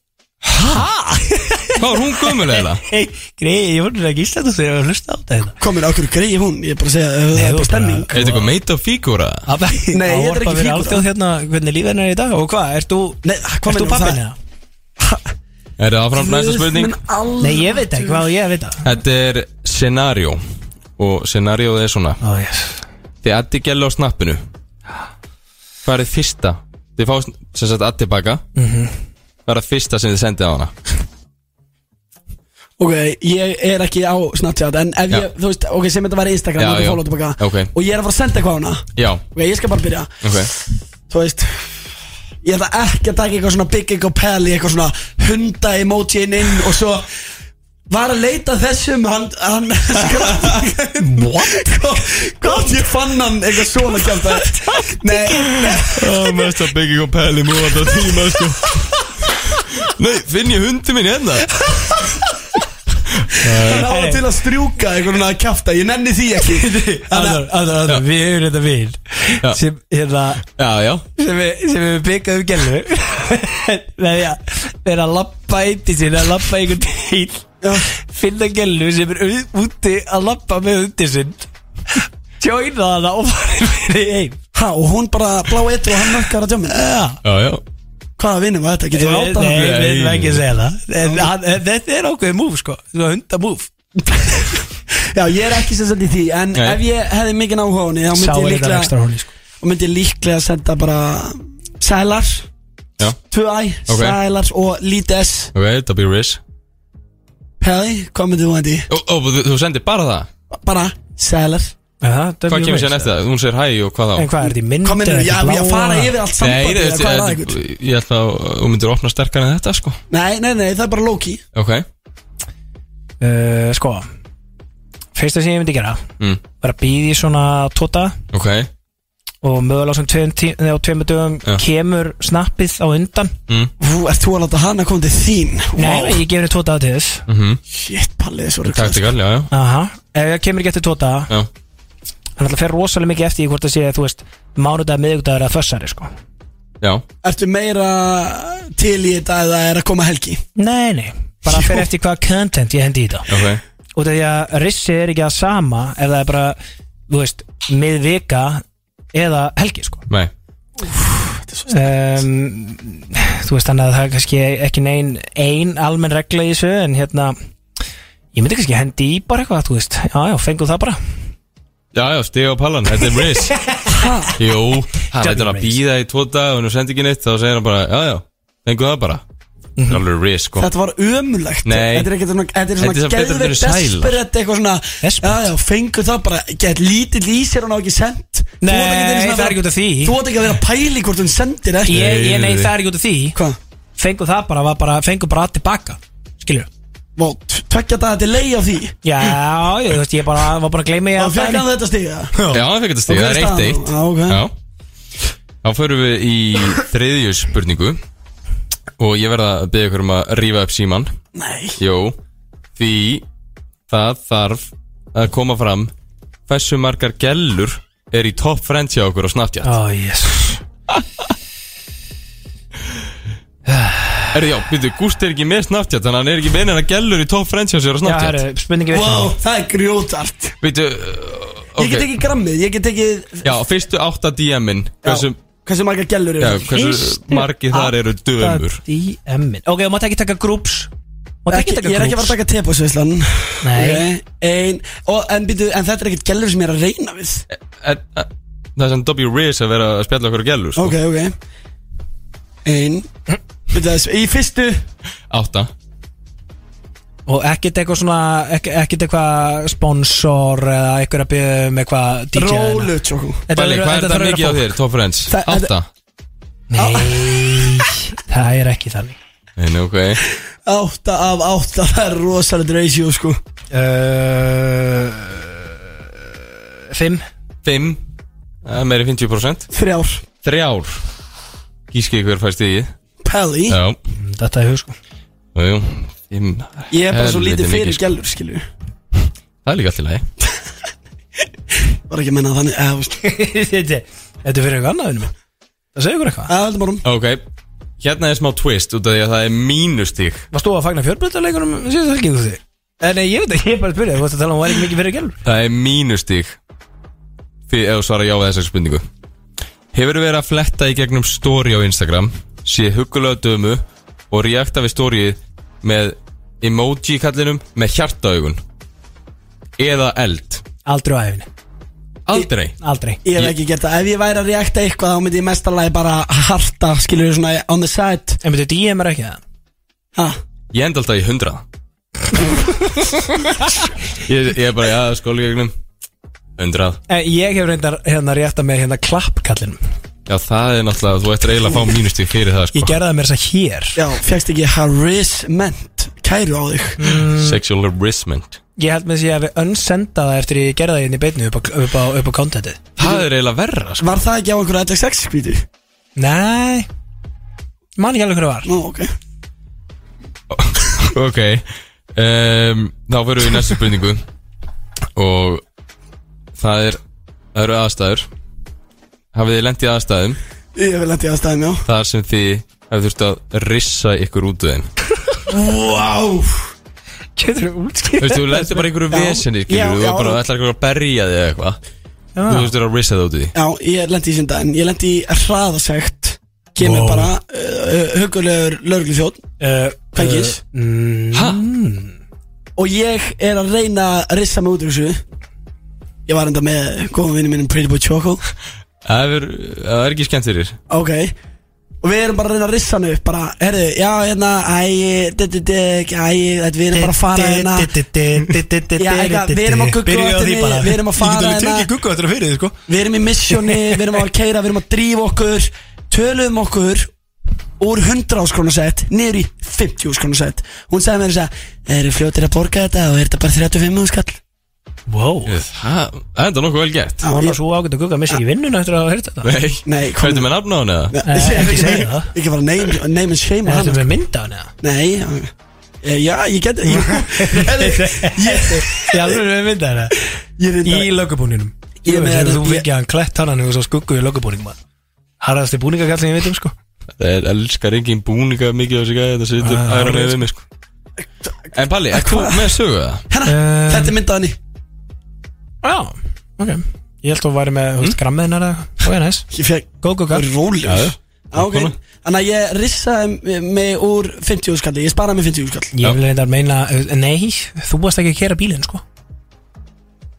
Hvað er hún gömul eða?
Hei, greið, ég voru ekki íslætt og þegar að hlusta á þetta hérna.
komin á okkur greið hún, ég er bara að segja Nei, það
þú
er bara
bara-
stemning
Er þetta eitthvað meit á fígúra?
Nei, ég er ekki
Það
fígúra.
var bara hérna hvernig lífið henni er í dag Og hvað, ert þú
Nei, hvað
Ert
meinarðu
þú pappin
það?
eða?
Er það áfram næsta spurning?
all...
Nei, ég veit ekki hvað á ég að vita
Þetta er scenario Og scenario er svona
Ó, yes
Þið addi gælu á snappinu Hvað er þið fyrsta? Þið fá sem sagt addi baka
Mhm.
Hvað er það fyrsta sem þið sendið á hana?
ok, ég er ekki á Snapchat en ef
Já.
ég, þú veist, ok, sem þetta var Instagram
Já,
já,
já.
já. Tilbaka,
Ok.
og ég er að fara að senda eitthvað á hana
Já,
ok, ég skal bara byrja
ok
þú veist ég ætla ekki að taka eitthvað svona big ego pal í eitthvað svona hunda emoji inn og svo var að leita að þessum hann, hann (laughs) what? gott ég fann hann eitthvað svona kjönda nei,
Ó, mest að byggja og pæli mú alltaf tíma sko Nei, finn ég hundi minn hérna
hann ára til að strjúka eitthvað svona að kjafta, ég nenni því ekki þannig að
Aður, aður, aður, við erum þetta
Já.
við sem, hérna,
Já, já
sem við, sem við byggjum gælu (laughs) þegar ég þegar að lappa einnig sinni að lappa einhvern bíl finna gælu sem er au- úti að lappa með hundi sinn tjóina hana og farið fyrir einn
Há, og hún bara blá eitt og hann mökkar að djömmin
Já, já
Hvaða vinnum var þetta?
Nei,
Getur við
nei,
átta hann?
við erum ekki að segja það En hann- en Þetta er ákveðið múf sko Svo hunda múf
Já, ég er ekki sem sett í því En
Nei.
ef ég hefði mikið áhuga á henni Þá
Sá
myndi ég
er þetta
líklega
ekstra hóli sko
og myndi líklega senda bara sælar
Já.
2i,
Ok.
sælar og lítið s
Ok, þetta byrjur ris
Pæði, hvað myndið þú hendi?
Ó, ó, þú, þú sendir bara það?
Bara sælar
Hvað kemur
sko.
sér eftir það? Hún segir hæ og hvað þá?
En hvað er þetta í mynd
Hvað myndir þú? Já, ég fara yfir allt
Nei,
sambandi
ég,
eða
ég,
hvað er það
ég,
ykkur?
ég, ég held að þú myndir opna sterkar en þetta sko
Nei, nei, nei, það er bara Loki
Ok,
uh, sko fyrsta sem ég myndi gera
Mm.
var að býði í svona tóta
ok
og mögulega sem tveim, tí, nei, á tveimur dögum
Já.
kemur snappið á undan
Vú, ert þú að láta hana koma til þín?
nei,
Wow,
nei, ég gefur tóta á til þess
Mm.
shit, pallið svo rugglaður.
Mhm. Taktikal, já, já,
Aha. ef ég kemur ekki eftir tóta
já.
hann ætla að fer rosalega mikið eftir í hvort það sé þú veist, mánudag, miðvikudagur eða þessari sko
já.
Ertu meira til í þetta eða er að koma helgi?
nei, nei, bara
Jú.
fer eftir hvaða content ég hendi í það
ok
út af því að rissið er ekki að sama ef það er bara, þú veist, miðvika eða helgi sko
Nei,
um, Þú veist þannig að það er kannski ekki nein ein almenn regla í þessu en hérna ég myndi kannski hendi í bara eitthvað þú veist já já fengum það bara
Já, já, stiga á pallan, þetta er
(laughs)
Riz Jú, hann
Johnny
veitur að
Riz.
býða í tvo dag og hann sendi ekki neitt, þá segir hann bara, já, já, fengu það bara Það er alveg Riz, sko
Mhm. Þetta var ömulegt
Nei.
Þetta er ekkert svona Þetta er svona
Þetta er betra en
geðveikt
þeir eru sælar.
desperate Eitthvað svona
Desperate.
Já, já, fengu það bara Gett lítill í sér og ná ekki sent Þú
Nei,
átt ekki einu sinni
það er ekki út af því.
Þú átt ekki að vera að pæli hvort hún sendir ekki
Ég,
Nei,
ég nei
nei.
það er ekki út af því
Hvað?
fengum það bara, var bara fengum bara tilbaka skilur
Vá, tvekja daga til leið á því
Já, ég, þú veist, ég bara, var bara að gleyma ég
Og
að
fekk hann þetta stiga
Já, hann fekk þetta
Og
stiga,
hver
það
er
er eitt
staðan?
eitt
Já, ok.
Já, þá förum við í þriðju spurningu og ég verða að byggja ykkur um að rífa upp síman
Nei
Jú, því það þarf að koma fram hversu margar gellur er í topp friends hjá okkur á Snapchat
Ó, jésus
Herri, já, býttu, Gústi er ekki með Snapchat þannig að hann er ekki með hennar gellur í top fransjási á
Já,
Snapchat
herru, spurningi við
Vá, það er grjótart
Býttu,
Ég get
ok
ekki grammið Ég get ekki
Já, fyrstu átta DM-in Hversu,
Hversu marga gælur
já,
eru
hversu
Fyrstu
margi þar eru dömur
DM-in Ok, þú mátt ekki taka grúps Mátt
Ekki,
ekki taka
ég er ekki að fara að
grúps
taka tepasveislan
Nei.
Ein, og, en, býtu, en þetta er ekkert gælur sem ég er að reyna við
En, eh, Það er sem W. Riz að vera að spjalla okkur gellur sko.
Ok, ok Ein Býtu þess, í fyrstu
Átta
Og ekkert eitthvað svona ekki, Ekkert eitthvað sponsor Eða eitthvað að byrja um eitthvað DJ -ina.
Rólu tjóku
Þetta
Bæli,
verður-
hvað er
þetta
það
þarf að
mikið á
vera fólk.
þér, top friends?
Það-
Átta
Nei, (laughs) það er ekki þannig
En ok
Átta af átta, það er rosalega ratio sko
uh, Fimm
Fimm Það er meiri 50%
Þrjár
Þrjár Gíski hver fær stigið
Pelli
Já,
Þetta er hug sko (laughs)
jú, jú Fimm
Ég er bara svo
Helviti
lítið fyrir
mikið,
sko.
sko.
gælur skilju
Það er líka allt í lagi
Var ekki að menna þannig eða, þú veist.
Þetta þetta er fyrir eitthvað annað vinnum Það segir ykkur eitthvað
Eða, heldur bara um
Ok, hérna er smá twist út af því að það er mínustík
Varst þú að fagna fjörbreytarleikunum síðan helgi þú þig? Eh, Nei, ég veit ekki, ég er bara að spyrja, þú veist að tala um að hún var ekki mikið fyrir gælur
Það er mínustík Fyrir ef þú svarar já við þessari spurningu Hefur verið að fletta í gegnum story á Instagram Sé huggulega dömu Og reakta við storyið Með emoji kallinum Með hjartaugun Eða eld
Aldrei á æfinni,
Aldrei
aldrei
Ég hef
Ég-
ekki gert það Ef ég væri að reakta eitthvað þá myndi ég mest alveg bara harta skilju svona on the side
En betur DM er ekki það
Ha
Ég enda alltaf í hundraða ég, ég er bara já skóli gegnum Hundrað
En Eh, ég hef reyndar hérna rétta með hérna klappkallinum
Já það er náttúrulega Þú ættir eiginlega að fá mínustík fyrir það sko.
Ég gerði það mér þess að hér
Já, fegst ekki harassment Kæru á þig
Sexual harassment
Ég held með þess að ég hef unsenda það eftir ég gerði það hérna í beinni upp á, upp á, upp á contentið
Það er eiginlega verra sko.
Var það ekki á einhverju LXX skvítu?
Nei, man ekki alveg hver var
Nú, ok
Ok um, Þá fyrir við í næstu spurningu Og það er Það eru aðstæður Hafið þið lent í aðstæðum
Ég vil lendi aðstæðum, já
Þar sem þið hafið þurft að rissa ykkur út úr þeim
Wow
Getur þú
Þú
útskýr?
veist, þú lendir bara í einhverju
Já.
vesinni
Já,
skilur, Þú
já.
er bara ætlar ykkur að berja þig eða eitthvað Þú
Já,
veist, þú er að rissa það út úr því
Já, ég lendi í sindan Ég lendi í hraðasegt Kemur
Wow.
bara uh, Huggulegur lögreglufjótt
Eh,
Fengis
eh, mm,
Ha?
Og ég er að reyna að rissa mig út úr þessu Ég var enda með góðum vinnum minnum Pretty Boy Choco
Það er, það er ekki skemmt fyrir
Ok Og við erum bara að reyna að rissa hann upp Bara, herðu, já, hérna, æ, dit, dit, dit, æ, þetta
eh,
við erum bara að fara
(laughs)
hérna Já, eitthvað, við erum á gugguvöttinni, við erum að fara
Ég get alveg
hérna.
tekið gugguvöttina fyrir þið sko
Við erum í missjóni, við erum að keira, við erum að drífa okkur Töluðum okkur Úr 100 áskrona set Niður í 50 áskrona set Hún sagði mér þess að Eru fljótir að borga þetta og er þetta bara 35 þúsund skall
Wow
Það það er enda nokkuð vel gert
Það var
ég-
svo ágætt að gugga missi ekki vinnuna eftir að hafa heyrt þetta
Nei,
Nei, kom-
hvað er með nafn á hann eða?
(laughs) Ég- ég-
Eh, ekki
ég-
segja það.
Ekki bara name, name and shame
Er
á
þetta
hana
með mynda hann eða?
Nei, já, já, ég get ég,
(laughs)
Heyrðu, ég,
Já, þú erum með mynda hann eða?
ég,
Í
reyndar-
lögubúninum
Ég
Þú
með
veist,
þetta-
Þú
ég-
fengið hann klett hann og svo skuggu í lögubúningum hann Harðasti búningakall sem ég veit um sko
Það er elskar engin búninga mikið á sig að þetta situr
Ah,
aðra
hárrétt,
með við mig sko En Palli, er þú með sögu það?
Hérna,
Eh.
þetta er myndaðan í
Já, ok Ég held að þú væri með, þú veist, grammeðin eða Og ég næs
Ég fekk
Góð gugga
Hmm? rólegur Ok,
Vinkona.
þannig að ég rissaði mig úr 50 skalli, ég sparaði mig 50 skall
Ég vil reyndar meina, eh, nei, þú varst ekki að kera bílinn sko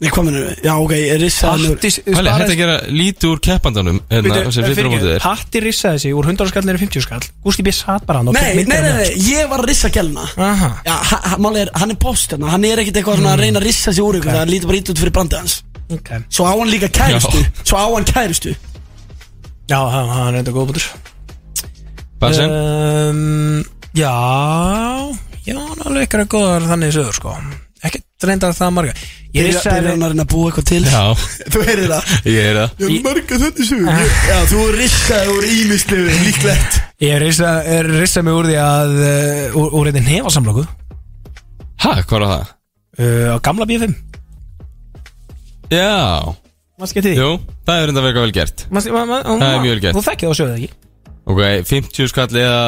Ég kom henni, já ok, ég rissaði mig úr
Hattis eh,
Palli, hætti ekki að gera lítið úr keppandanum hérna, sem fyrir á mótið þér
Hatti rissaði sig úr 100 skall neyri 50 skall Gústi Biss hatt bara hann og
Nei,
tók
nei,
myndir
nei,
af
nei,
mér.
ég var að rissa gælna
Aha.
Já, ha- ha- málið er, hann er post hérna, hann er ekkert eitthvað svona að reyna að rissa sig úr ykkur Það lítur bara ít út fyrir brandið hans
Ok.
Svo á hann líka kærustu, svo á hann kærustu
Já, hann hann er þetta góð bútur
Basen,
Eh. um, Já Já, hann er alveg eitthvað góðar þannig sögur sko Ekki reyndar það marga
Byrja-
Ég
Byrjar
rissaði
hann að reyna að búa eitthvað til
já,
Þú heyrir það
ég er það
Ég marga þetta svo Já, þú rissaði úr ímislegu, líklegt
Ég rissaði rissa mig úr því að uh, úr, úr einnig nefasamlöku uh,
Hæ, hvað var það?
eh, á gamla B5
Já,
Manstu getið því?
jú, það er enda verið vel gert
Manstu- ma- ma- ma-
Það er mjög vel gert.
Þú þekkið það og sjöðu það ekki
Ok, 50 skall eða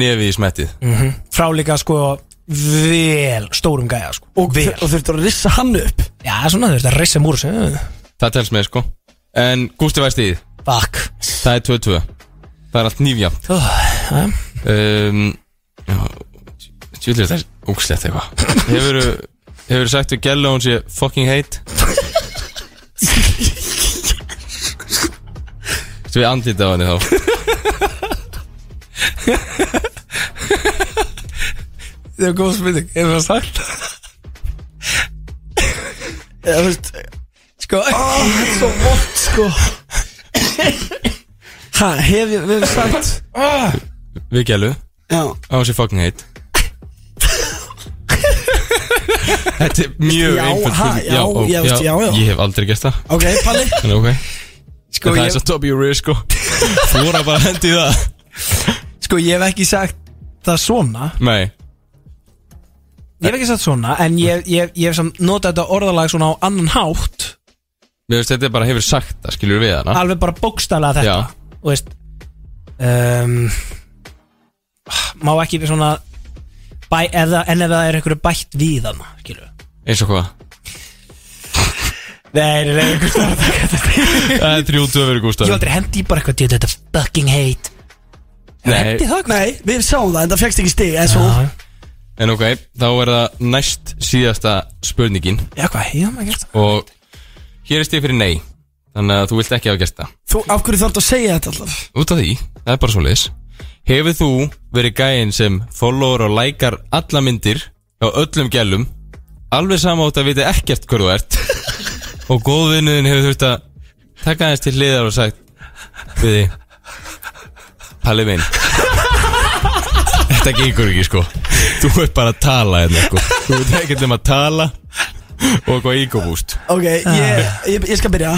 nefi í smettið
Frá líka sko vel stórum gæja sko
Og,
vel
og þurftur að rissa hann upp
Já, svona þurft að rissa mig úr þessu
Það telst með sko En Gústi væri stíð,
Fuck
það er 2-2 Það er allt nýfjamt
Ó, já.
um, Já, tjúlir þetta er ógslegt eitthvað Hefur Hefur sagt við Gjalla að hún sé fucking hate Svo við andlita á henni þá
Það er góð spurning, ef það sagt
Eða, þú veist,
Sko
svo vott sko Hæ, hef ég, við hefum sagt
Við Gjallu
Já,
að hún sé fucking hate Þetta er mjög
Já, ha,
einföld spurning.
já, já, veist, já, já.
Ég hef aldrei gert það
ok, Palli
En ok,
Sko
það
ég,
er svo top your rear sko Þú voru bara að hendi í það
sko ég hef ekki sagt það svona
Nei,
Ég hef ekki sagt svona En ég, ég, ég hef samt notað þetta orðalag svona á annan hátt
mér veist þetta er bara hefur sagt það skilur við hana
Alveg bara bókstælega þetta
Já.
Og veist um, Má ekki við svona bæ, eða, En ef það er einhverju bætt við þarna Skilju
Eins og hvað
Nei, nei, nei, einhvers staðar að taka þetta.
Það er þrjútu að vera
(laughs) Ég
Gustaf
aldrei hendi í bara eitthvað djöfull, Þetta er fucking hate
Nei,
Hendi það eitthvað?
Nei, við sáum það, en það fegst ekki stig eða svo
Já,
en ok, þá er það næst síðasta spurningin
Já, hvað hefur maður gert það?
Og hér er stig fyrir nei Þannig að þú vilt ekki hafa gert það
Þú, af hverju þarf að segja þetta alltaf?
Út af því, það er bara svo leis Hefur þú verið gæinn sem followar og lækar alla myndir á öllum gælum alveg sama átt að vita ekkert hver þú ert og góðvinnuðin hefur þurft að taka aðeins til hliðar og sagt við því Palli minn Þetta gengur ekki sko Þú ert bara að tala hérna sko Þú ert ekkert um að tala og eitthvað ígóbúst
Ok, ég, ég, ég skal byrja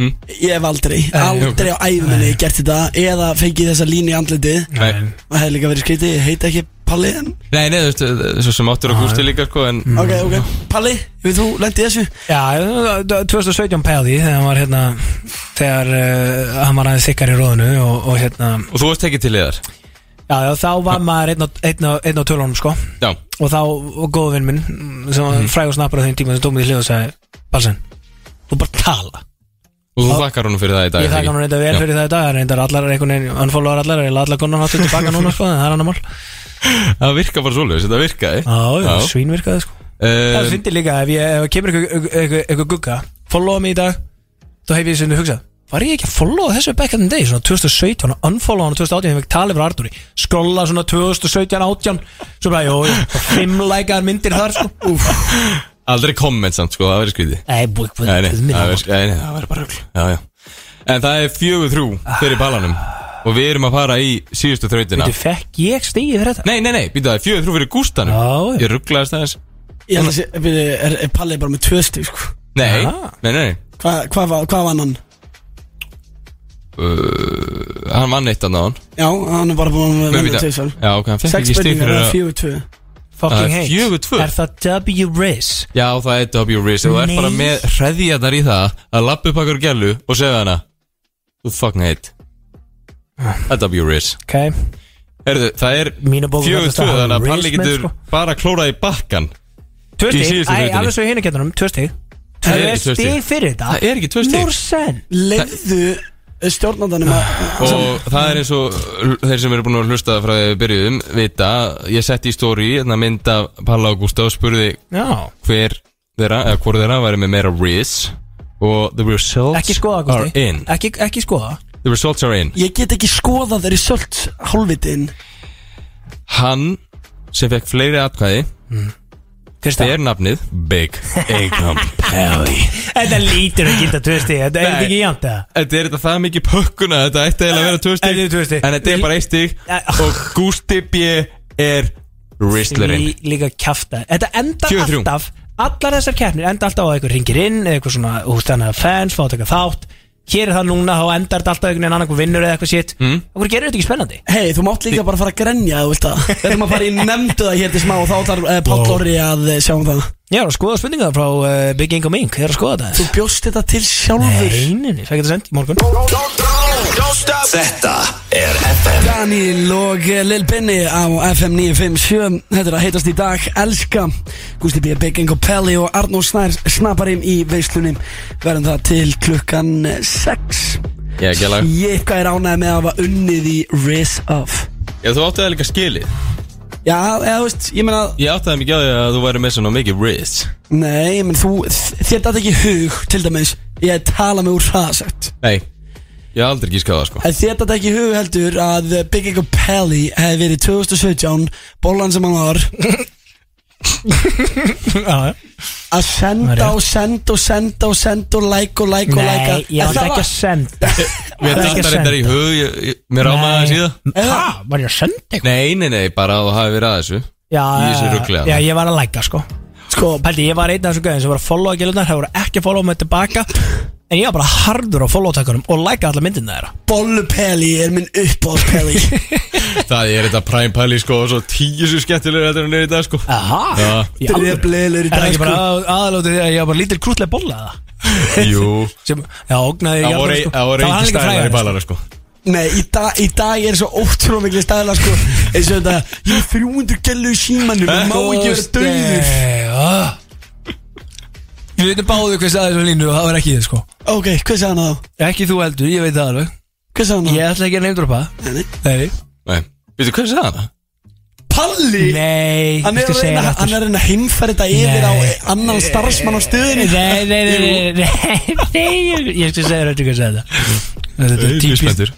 Mm.
Ég hef aldrei, aldrei á æfuminni gert þetta Eða fengið þessa línu í andlitið
Nei,
Og hefði líka verið skrítið, ég heiti ekki Palli en
nei, nei þú veist Svo sem áttur og gústi líka sko en
Ok, ok, Palli, hefur þú lendið þessu?
Já, 2017 pæði þegar hann var hérna þegar uh, hann var aðeins þykkar í róðinu og, og hérna,
Og þú ert ekki til hliðar
já, já þá var maður einn á, einn á, einn á tölunum sko
Já,
og þá, og góðvinn minn sem var frægur snappar á þeim tíma sem tók mig í hlið og sagði Balsen, þú bara tala
og þú þakkar honum fyrir það í dag
ég
ekki?
þakka hann reynda vel
Já.
fyrir það í dag hann reyndar allar einhvern veginn, hann fólóðar allar eða allar konar hattu tilbaka núna sko, en það er annar mál
Það virka bara svolítið, þetta virkaði
já, já,
Já.
svínvirkaði sko það
uh,
finnir líka, ef ég ef það kemur eitthvað- eitthvað eitthvað- eitthvað gugga followa mig í dag, þá hef ég sem þú hugsað var ég ekki að followa þessu back in the day svona 2017, unfollowa hann 2018 þegar ég talið frá Artúri, skrolla svona 2017 18, svo bara, jú, jú fimm lækaðar myndir þar, sko Úf.
Aldrei komment samt, sko, það verður skrítið
nei, búið, búið,
Nei, nei,
búið,
það
minna
verður- nei, nei, það verður bara rugl Já, já En það er fjögur þrjú fyrir balanum Og við erum að fara í síðustu þrautina
þú fekk ég stigið fyrir þetta
Nei, nei, nei, býta það, er fjögur þrjú fyrir gústanum
Já, já.
Ég rugglaðist aðeins
Ég held að sé, byrju, er, er Palli bara með tvö stig sko
Nei,
Ah.
nei, nei, nei.
Hvað hva, hva, hva var hann?
hann vann eitt annað hann
Já, hann er bara búin að lenda
Já,
tvisvar
ok, hann fekk
Sex
ekki stig
spurningar, það
fyrir að
er fjögur tvö
Það er
fucking hate,
fjögur tvö.
er það W-Riz
Já, það er W Riz Þú ert
Nei.
bara með hreðjarnar í það Að lappa upp akkur gælu og segja hana Þú fucking hate Það er W Riz
ok,
Herðu, það er
Mínu bókum
fjögur
kallast
tvö
það
Þannig að
Race
Palli
menn,
getur
sko.
bara klórað í bakkan
tvö
Í
stig,
síðustu
æ,
þrautinni.
alveg svo í hinu kettunum, tvö stig
Það er
tvö
ekki tvö stig.
stig fyrir þetta
Það er ekki tvö stig.
Norsen
Leifðu stjórnandanum eh, að
Og það er eins og l- þeir sem eru búin að hlusta frá þegar við byrjuðum vita, ég setti í stóri hérna mynd af Palla og Gústa og spurði
Já
hver þeirra, eða hvort þeirra væri með meira riz og the results
Ekki skoða,
are
Gusti
in
ekki, ekki skoða
The results are in
Ég get ekki skoðað þeirri sölt hálfitin
Hann sem fekk fleiri atkvæði
Fyrst að
er nafnið Big
(laughs)
Income Pally
Þetta lítur að gilda tvö stíð Þetta er
Nei.
þetta ekki jæmt eða
Þetta er þetta það mikið pökkuna Þetta ætti eiginlega að vera tvö stík
Þetta er tvö stig.
En þetta er bara eitt stík
Æ,
Og Gústi B er Rizzlerinn
Lí, Líka kjafta Þetta endar
43.
alltaf Allar þessar keppnir enda alltaf á að einhver ringir inn eða eitthvað svona, þú veist þannig að fans fá að taka þátt Hér er það núna, þá endar þetta alltaf einhvern veginn annar vinnur eða eitthvað sitt mm. Okkur gerir þetta ekki spennandi
Hei, þú mátt líka bara fara að grenja ef þú vilt það Við erum að fara í nefndu það hér til smá og þá þarf uh, Páll Orri að uh, sjá um það
Ég er að skoða spurningar frá uh, Big Gang og Mink Ég er að skoða
Þú
þetta
bjóst þetta til sjálfur
Eininni, fæk þetta send í morgun
Þetta er FM
Daniel og eh, Lil Benny á FM 957 Þetta er að heitast í dag Elska Gusti B. Bigging og Pelli og Arnó Snær Snaparinn í veislunum Verðum það til klukkan eh, 6
Ég er ekki að laga
Ég hvað er ánægð með að hafa unnið í Riz Of
Já þú átti það líka skilið
Já, eða þú veist, ég meina
Ég átti það mikið á því að þú væri með svona mikið Rizz
Nei, ég meina þú Þér dætt ekki hug, til dæmis Ég tala mig úr hraðasett
Nei Ég haf aldrei gískað á það sko
En þér dætt ekki hug heldur að Bigging og Pelli hefði verið 2017 Bollan sem hann var
Já, já.
að
Það
senda
er rétt.
og senda og senda og senda og like og like og like
Nei, ég
Það
átti ekki að
var-
senda
Mér
Það er
datt
ekki að
það reyndar í
senda.
hug ég, ég, Mér ámaði það síðan
Hæ, var ég að senda eitthvað?
Nei, nei, nei, bara að þú hafi verið að þessu Í
Já,
þessu rugli,
já,
þarna.
ég var að læka sko
sko,
Pældi, ég var einn af þessum gæðin sem var að followa gælunar Það voru ekki að followa mig tilbaka En ég var bara hardur á follow-takunum Og læka alla myndina þeirra
bollupeli er minn uppáðspeli
(laughs)
Það er þetta prime pæli sko og svo tíu svo skemmtilegur þetta er hann er í dag sko
Aha,
Já,
í alvöru?
drefleilur í
Er það
dag
ekki
sko
bara aðalótið því að ég var bara lítil krútlega bolla það?
jú
Sem, já, ógnaði sko.
Það voru það voru
var hann
ekki
líka
stælar í
frægur,
ballara sko
Nei, í, dag- í dag er svo ótrúlega miklu staðla sko eins og þetta, ég er 300 gælu í símanum
Eh,
ég má ekki vera döður
döður Við veitum báðu hvað sagði þessu línu og það var ekki þið sko
Ok, hvað sagði hann þá?
Ekki þú heldur, ég veit það alveg
Hvað sagði hann þá?
Ég ætla ekki að neymdropa
Nei.
Nei,
Nei, veitu hvað sagði það?
Palli!
nei
Hann
ég
er
skal
að
segja
reyna hann
það aftur.
er að reyna að heimfæra þetta yfir á
Nei.
annan starfsmann á stöðinu
Nei, nei, nei, nei, nei, nei, ég skal segja þetta hvað sagði það
Ég
Þetta er
er
típist
spenntur.
Já,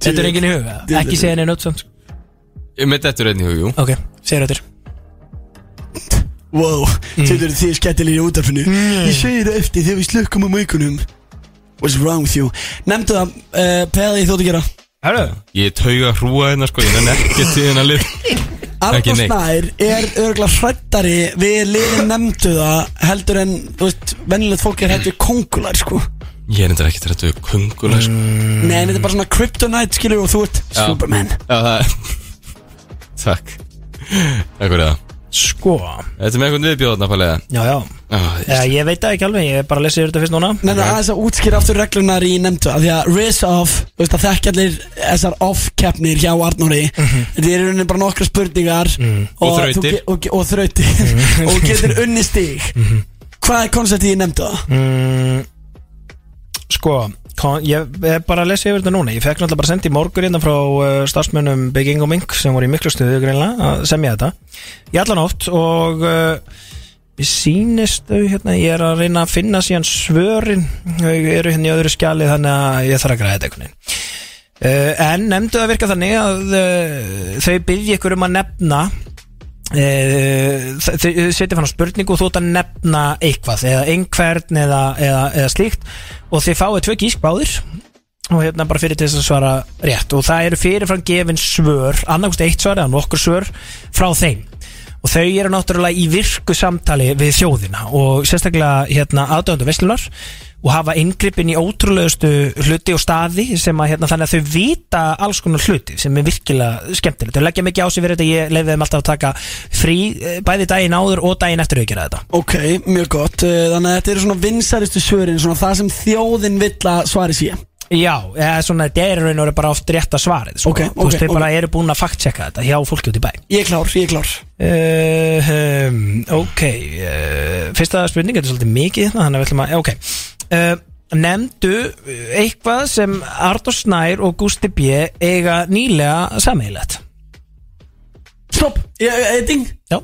Þetta er enginn í huga, ekki segja henni nótt samt
Ég mitt eftir einn í hug, jú
Ok, segja þetta
Wow,
Mm.
þetta eru þið skettilegir í útarfinu Ég segi það eftir þegar við slukkum um aukunum What's wrong with you Nefndu það, uh, Pelli þú átt að gera
Hörru
Ég tauga hrúa hérna sko, ég nenni ekki til hérna lið Ekki
Arnó
neitt.
Snær er örgulega hrættari Við liðin nefndu það Heldur en, þú veist, venjulegt fólk er hættu kongular sko
Ég er endur ekki til þetta kungula sko
Mm.
Nei, en þetta er bara svona kryptonite skilur og þú ert
Já.
Superman
Já, það Takk Takk fyrir það
Sko,
Þetta er með einhvern viðbjóðna pælega
já, já
Já,
Já, ég veit það ekki alveg, ég er bara að lesa yfir þetta fyrst núna
Nefndu aðeins að útskýra aftur reglunar í nefndu af Því að Riz Off, þú veist að þekkja allir Þessar off-keppnir hjá Arnóri Þetta er rauninni bara nokkra spurningar
Mhm. Og
þú
þrautir. Mhm.
ge- Og, ge- og þrautir (laughs) Og getur unni stig Hvað er konceptið í nefndu
Mhm.
það?
mm, Sko, kon, ég er bara að lesa yfir þetta núna Ég fekk náttúrulega bara sendi í morgur hérna frá uh, starfsmönnum Big Ingo Mink sem voru í miklu stuðu greinlega að semja þetta Ég allan átt og uh, ég sýnist þau hérna Ég er að reyna að finna síðan svörin Þau eru hérna í öðru skjali þannig að ég þarf að græða þetta einhvern veginn Uh, en nefndu að virka þannig að uh, þau byrði ykkur um að nefna Eh, þau þau setja fann á spurningu og þú ert að nefna eitthvað eða einhvern eða, eða, eða slíkt og þið fáið tvö gísk báðir og hérna bara fyrir til þess að svara rétt og það eru fyrirfram gefin svör annarkvist eitt svar eða nokkur svör frá þeim og þau eru náttúrulega í virku samtali við þjóðina og sérstaklega hérna aðdöndu veislunar og hafa inngripin í ótrúlegustu hluti og staði sem að hérna þannig að þau vita alls konar hluti sem er virkilega skemmtilegt þau leggja mikið á sig fyrir þetta ég leiði þeim alltaf að taka frí eh, bæði daginn áður og daginn eftir að gera þetta
Ok, mjög gott Eh, Þannig að þetta eru svona vinsaristu svörin Svona það sem þjóðin vill að svari sé
Já, eða svona þetta er raun og eru bara oft rétt að svarið sko.
Ok,
Þú veist,
ok,
þau bara eru búin að fact-checka þetta hjá fólki út í bæ
Ég er klár, ég er klár
Uh, eh, um, ok uh, Fyrsta spurning, þetta er svolítið mikið hérna, Þannig að við ætlum að, ok uh, nefndu eitthvað sem Artur Snær og Gusti B eiga nýlega sameiglegt
Stopp, ég, ég, ég ding
Já,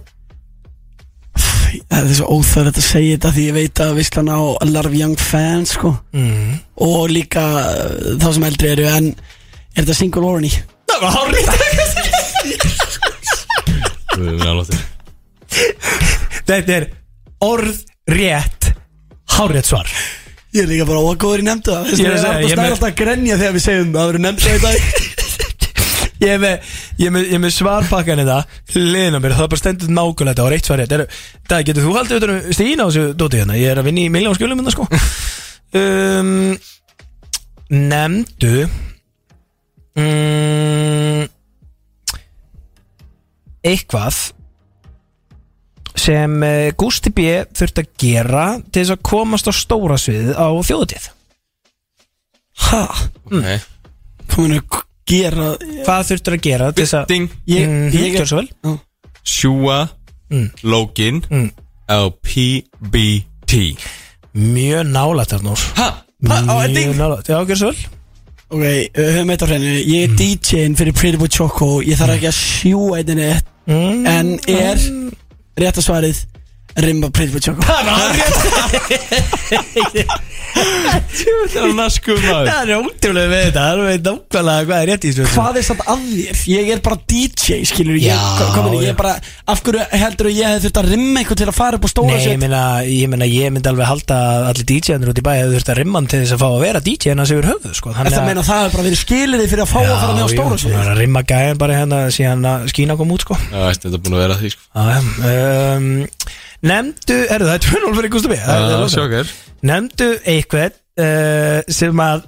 Það er svo óþörð að segja þetta því ég veit að vislan á Larv Young fans sko mm.
Mhm.
Og líka uh, þá sem eldri eru En er þetta single orny?
það var hárið
Guð minn almáttugur.
Þetta er orð rétt hárið svar
(laughs) Ég er líka bara ógóður í nefndu það
Ég er að segja,
Það
ég
er
með-
alltaf að grenja þegar við segjum það Það eru nefndu það í
(laughs)
dag
Ég er með, ég er með, ég er með svarpakkan í það Liðin á mér, það er bara stendur nákvæmlega þetta og rétt svar rétt Er- Það getur þú haldið utan um stína á þessu dóti hérna Ég er að vinna í miljón skjölum
(laughs)
hérna sko um, Nemndu um, Eitthvað sem eh, Gústi B þurfti að gera til þess að komast á stóra sviðið á þjóðutíð
Ha,
Mm.
Nei.
kominu að gera
Hvað þurfti að gera til þess að
Ding.
Ég,
Mhm,
ég,
gjörðu svo vel.
Sjúa
Mm.
Login LPBT
Mjög nálægt Arnór
Ha?
Mjög nálægt, já, gjör svo vel
Ok, uh, höfum eitt á hreinu Ég
Mhm.
er DJ-in fyrir Pretty Boy Choco Ég þarf ekki að sjúa einni
Mm.
En er rétt að svarið Rimba Pretty Boy Choco
Það er hárrétt.
Það er naskum
(laughs)
maður
Það er ótrúlega við þetta Það er veit nákvæmlega hvað er rétt í þessu
Hvað er samt að þér? Ég er bara DJ, skilur
Já,
ég, komin, ég
já.
er bara, Af hverju heldur ég hefði þurft að rimma einhvern til að fara upp á stóra
Nei, ég
set?
meina, ég meina, ég myndi alveg halda að allir DJ-anur út í bæ hefur þurft að rimma hann til þess að fá að vera DJ en hans yfir höfuð, sko
Er Það meina að það hefur bara verið skilirði fyrir að fá að fara með á stóra
Já,
set
já, rimma gæðin bara hérna síðan að skína kom út, sko
Já, veist, þetta er búin að vera því sko
Já, já, um, Nefndu, herðu það, er 2-0 fyrir Gústa B Það er- það er rosa.
Sjókar
Nefndu eitthvað uh, sem að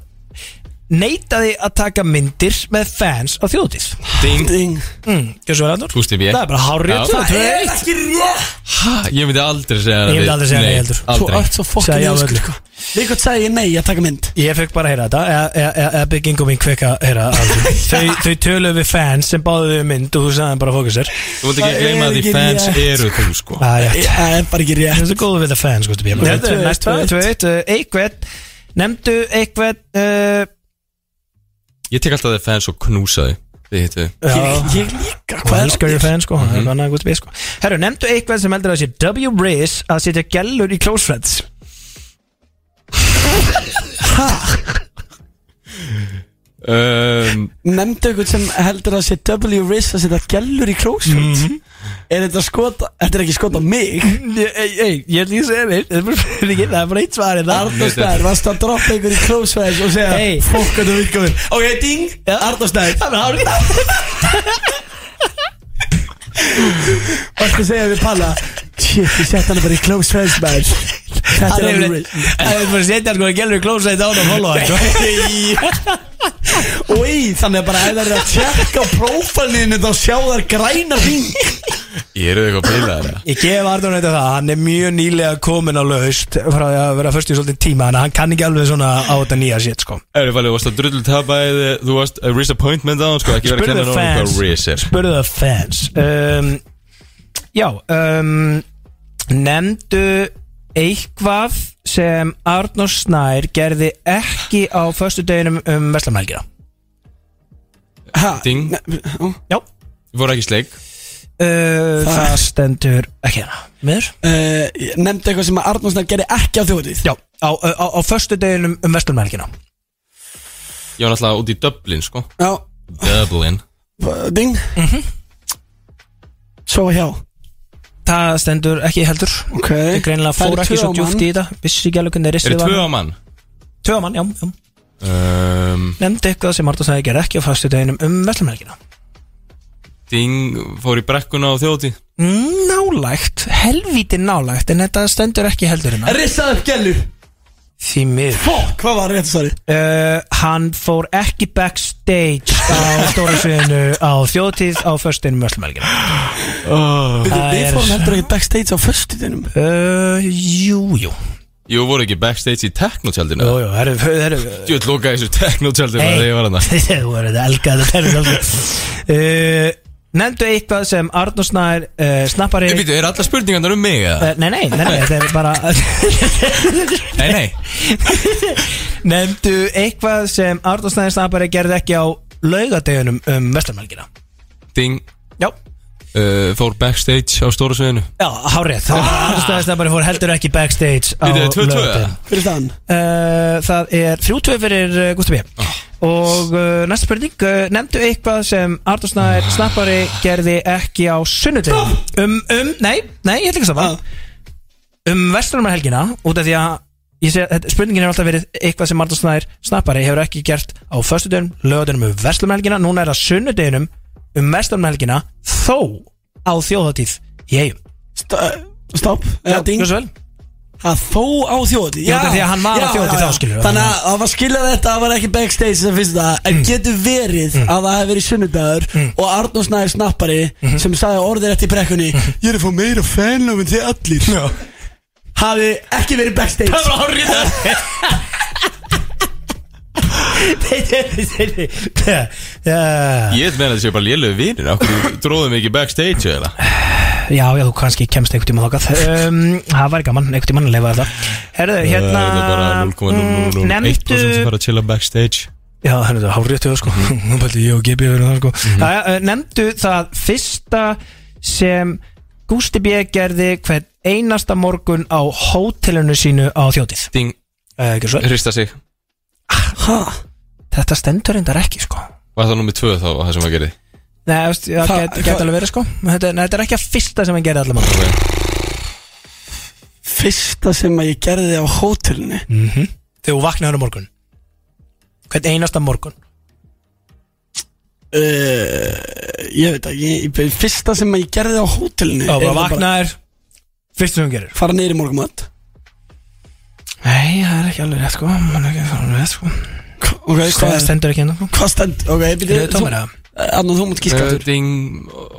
neitaði að taka myndir með fans á þjóðutíð
Ding
Ding.
mm, Gjörðu svo vel, Arnur?
Gústi B
Það er bara hárið
Já.
Það er ekki rétt
Ha, Ég myndi aldrei segja
Ég myndi
við-
aldrei segja
Nei,
nei heldur.
Þú
Aldrei
ert svo fokkin
Segðu já,
öskur
völdu.
sko Líkvæmt sagði ég nei að taka mynd
Ég fekk bara að heyra þetta eða- eða- eða- eða byggingu mín kveka heyra af
(laughs)
því. þau, þau töluðu við fans sem báðu þau um mynd og þú sagði þeim bara fókusir
Þú mútti
Það
ekki gleyma
er
að því
ekki
fans
rétt.
eru þú sko
Það er rétt.
Það er bara ekki rétt
Þetta er góð við það fans sko, Stubbi, ég bara-
Þetta er
Næsta,
tvö eitt.
tvö eitt, uh, eitthvað Nemndu eitthvað uh,
Ég tek alltaf því fans og knúsa þau Þið hittu þau
Ég ég líka,
Hvað
hvað Mhm.
er
er
skörðu fans sko, mm -hmm. annað, Gusti B, sko. Herru, nemndu eitthvað sem heldur að sé W. Riz að setja gellur í Close Friends
um,
Nemndu einhvern sem heldur að sé W. Riz að setja gellur í klósett Er þetta skota, þetta er ekki skota mig
Mhm. Ég, ég, ég, ég er líka að segja þér Það er bara- það er ekki- það er bara eitt svar hérna.
Arnur Snær, varstu að droppa einhver í klósett og segja
Hey.
Fokk að þú virkar mér Ok, ding, Arnur Snær
Það er hárið
Varstu að segja við Palla Shit, ég sett hana bara í klósett maður Þetta
Það
er
er
W.
yfirleitt
Riz
Það er bara að setja sko að gælur í klósæti á hann og
(laughs)
followa hann sko. (laughs)
Úi, þannig að bara ef það er að tjekka prófælinu þá sjá þær græna ring
Ég eru eitthvað bilaðar eða?
Ég gef Arnur þetta það, hann er mjög nýlega komin á laust frá því að vera först í svolítið tíma þannig að hann kann ekki alveg svona á þetta nýja shit sko.
Erum fælið, þú varst að drullu tapaðið Þú varst að disappointment á hann sko Ekki vera að
Spurðu
kenna
það
náttúrulega hvað Riz
fans
er
Spurðu það fans um, Já um, Nemndu eitthvað sem Arnur Snær gerði ekki á förstu deginum um Vestlamælgina
Ha,
Ding.
ne-
Já
Ég fór ekki í sleik
Uh, það stendur ekki hérna Miður?
Uh, ég nefndi eitthvað sem að Arnur Snær gerði ekki á þjóðið
Já, á, uh, á, á förstu deginum um Vestlumælgina
Ég var náttúrulega út í Dublin sko
Já,
Dublin
b- ding Sofa hjá
Það stendur ekki heldur
Ok
Ég greinlega
Það
fór
eru
ekki
tvö
svo
á
djúft í þetta Vissi ekki alveg hvernig
Er
ristið
þið
var
tvö á mann?
Tvö á mann, já, já
Um,
Nefndi eitthvað sem Artur sagði gerði ekki á förstu deginum um Vestlumælgina
Ding fór í brekkuna á þjóti
Nálægt, helvíti nálægt En þetta stendur ekki heldur hérna
mann Rissað upp gellu
Því miður
Fokk, hvað var rétt svarið?
uh, Hann fór ekki backstage á stóra sviðinu á þjóðtíð á förstu deginum um Vestlumælgina
Við
Það
við
er-
fórum hérna. heldur ekki backstage á föstutinum
uh, Jú, jú
Jú, voru ekki backstage í teknotjaldinu
Jú, jú, herru, herru
Jú, ég lokaði þessu teknotjaldinu
(laughs) Hey,
þegar ég var hann
Þú verður þetta elga þetta er þetta alveg. uh, Nefndu eitthvað sem Arnur Snær uh, snappari
Býtu, er alla spurningarnar um mig eða?
Eh, Nei, nei, nei, nei, þetta er bara
Nei, nei
Nefndu eitthvað sem Arnur Snær snappari gerði ekki á laugadegunum um vestarmælgina
Ding
Já,
uh, Fór backstage á stóra sveinu
já, hárið Þá var Arnur Snær snappari fór heldur ekki backstage á
Býtu, 2-2 eða?
laugadegunum
Fyrir staðan
Uh, það er 3-2 fyrir uh, Gustaf B Og uh, næsta spurning uh, Nefndu eitthvað sem Artur Snær Snappari gerði ekki á sunnudegum Um, um, nei, nei, ég ætla ekki að stafa Um vestlunarhelgina Út af því að ég sé, þetta- Spurningin er alltaf verið eitthvað sem Artur Snær Snappari hefur ekki gert á föstudegum Lögadegum um vestlunarhelgina Núna er það sunnudeginum um vestlunarhelgina Þó á þjóðatíð Í eigum
St- Stopp Eða ding
Gjörðu svo vel.
Að þó á þjóti
Já, því að hann var á þjóðhátíð, þá skilurðu.
Þannig að það var skilja þetta Það var ekki backstage sem finnst það En
Mm.
getur verið að það hefur verið sunnudagur Og Arnur Snæður snappari
Mm.
Sem sagði orðið rétt í brekkunni Ég er að fá meira fanlöf en þið allir
Já.
Hafi ekki verið backstage
var hárið það
Ég veit meina að það sé bara lélögu vinir Akkur dróðum við ekki backstage eða
Já, já, þú kannski kemst einhvern tíma þákað um, Það væri gaman, einhvern tíma að lifa þetta Herðu, hérna
Það Eh, er bara
mm,
0,001% sem
Nefndu
fara Mhm. að chilla backstage
Já, hérna, þetta er hárið þetta sko (laughs) Nú bætti ég og Gibi verið það sko
Mhm.
Jæja, eh, Nefndu það fyrsta sem Gústi B. gerði hvern einasta morgun á hótelinu sínu á þjótið
Ding,
uh, Gjörðu svo vel.
hrista sig
Ha?
Þetta stendur reyndar ekki sko
Var það nummið tvö þá það sem að gerði
Nei, þú veist, það
Hva-
get, get
hva-
alveg verið sko þetta, nei, þetta er ekki að fyrsta sem hann gerði allar mann
okay.
Fyrsta sem að ég gerði á hótelinu
Mm. Þegar þú vaknaður á morgun Hvern einasta morgun
uh, Ég veit ekki ég- Fyrsta sem að ég gerði á hótelinu
Já,
er
bara
það
vaknaður Fyrsta sem hann gerir
Fara niður í morgumat
Nei, það er ekki alveg rétt sko Það er ekki alveg rétt sko
Ok, hvað
Það
er
stendur ekki enda sko
Hvað stend Ok,
Eru þið
byrju
tómir að
Anna, þú mútt gíska aftur
Ding,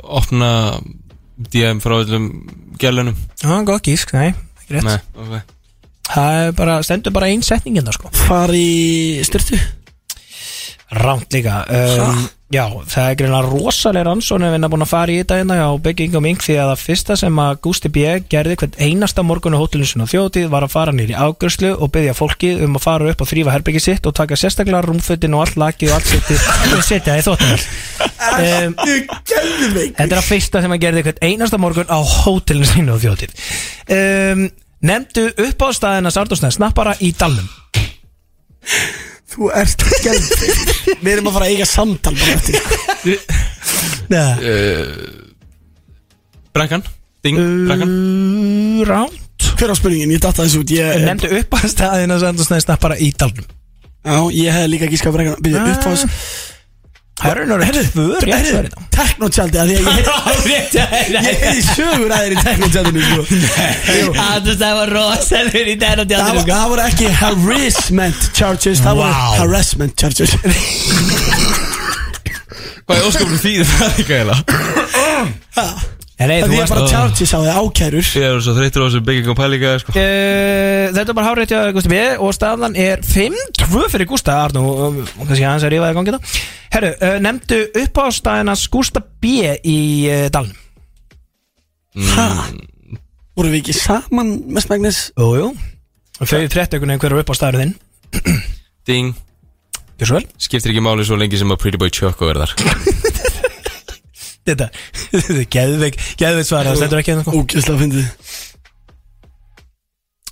opna DM frá öllum gælunum
Já, góð gísk, nei, ekki rétt
Nei, ok
Það er bara, stendur bara ein setning enda sko
Far í styrtu
Rámt líka um, Já, það er greinlega rosalega rannsóna en við erum búin að fara í þetta hérna á Bygging og Mink því að það fyrsta sem að Gústi B. gerði hvern einasta morgun á hótelunsun og þjótið var að fara nýr í ágjörslu og byggja fólki um að fara upp og þrýfa herbyggi sitt og taka sérstaklega rúmfötin og allt laki og allt seti og setja það í þóttanvel um, Þetta er að fyrsta sem að gerði hvern einasta morgun á hótelunsun sínu og þjótið um, Nefndu upp á staðina Sardorsnæð snappara í Dalnum
Þú ert skemmt (laughs) Við erum að fara að eiga samtal bara eftir
(laughs) Nei
Eh, Brekkan, ding,
Eh.
brekkan
Ránt
Hver á spurningin, ég datta þessu út Ég, eh,
Nefndu upp að staðina Sandus Snæði bara í dalnum
á, ég hef líka gískað breggan Byrja upp á þessu
Herrun eru tvör Ah, rétt svar (laughs) í dag.
Teknotjaldi af því að
(laughs)
Ég ég er í sögur aðeir í teknotjaldinu
(laughs)
sko.
Andrús, það var rosalur í dæra
Það var-
sko.
djáttur
það voru ekki harassment charges Það voru
Vá.
harassment
(laughs)
charges
Hvað er ósköpunum því það ekki eða?
Nei, nei,
Það
þú
því að
varst
bara charges á því ákærur
Ég er svo þreyttur á þessu bygging og pælinga sko.
Uh, þetta er bara hárið til að Gústi B og staðan er 5-2 fyrir Gústa Arnú, um, kannski hans er rífaði að gangi þetta Herru, uh, nefndu upp á staðina Gústa B í uh, dalnum Mm.
Ha? Voru við ekki saman mest megnis
Jújú Þau fréttu einhvern veginn hverju upp á staðinu þinn
Ding,
Gjör svo vel
skiptir ekki máli svo lengi sem að Pretty Boy Choco er þar
Þetta, (laughs) þetta er geðveik, geðveik svara, þetta er ekki hérna sko.
Ógjörslega fyndið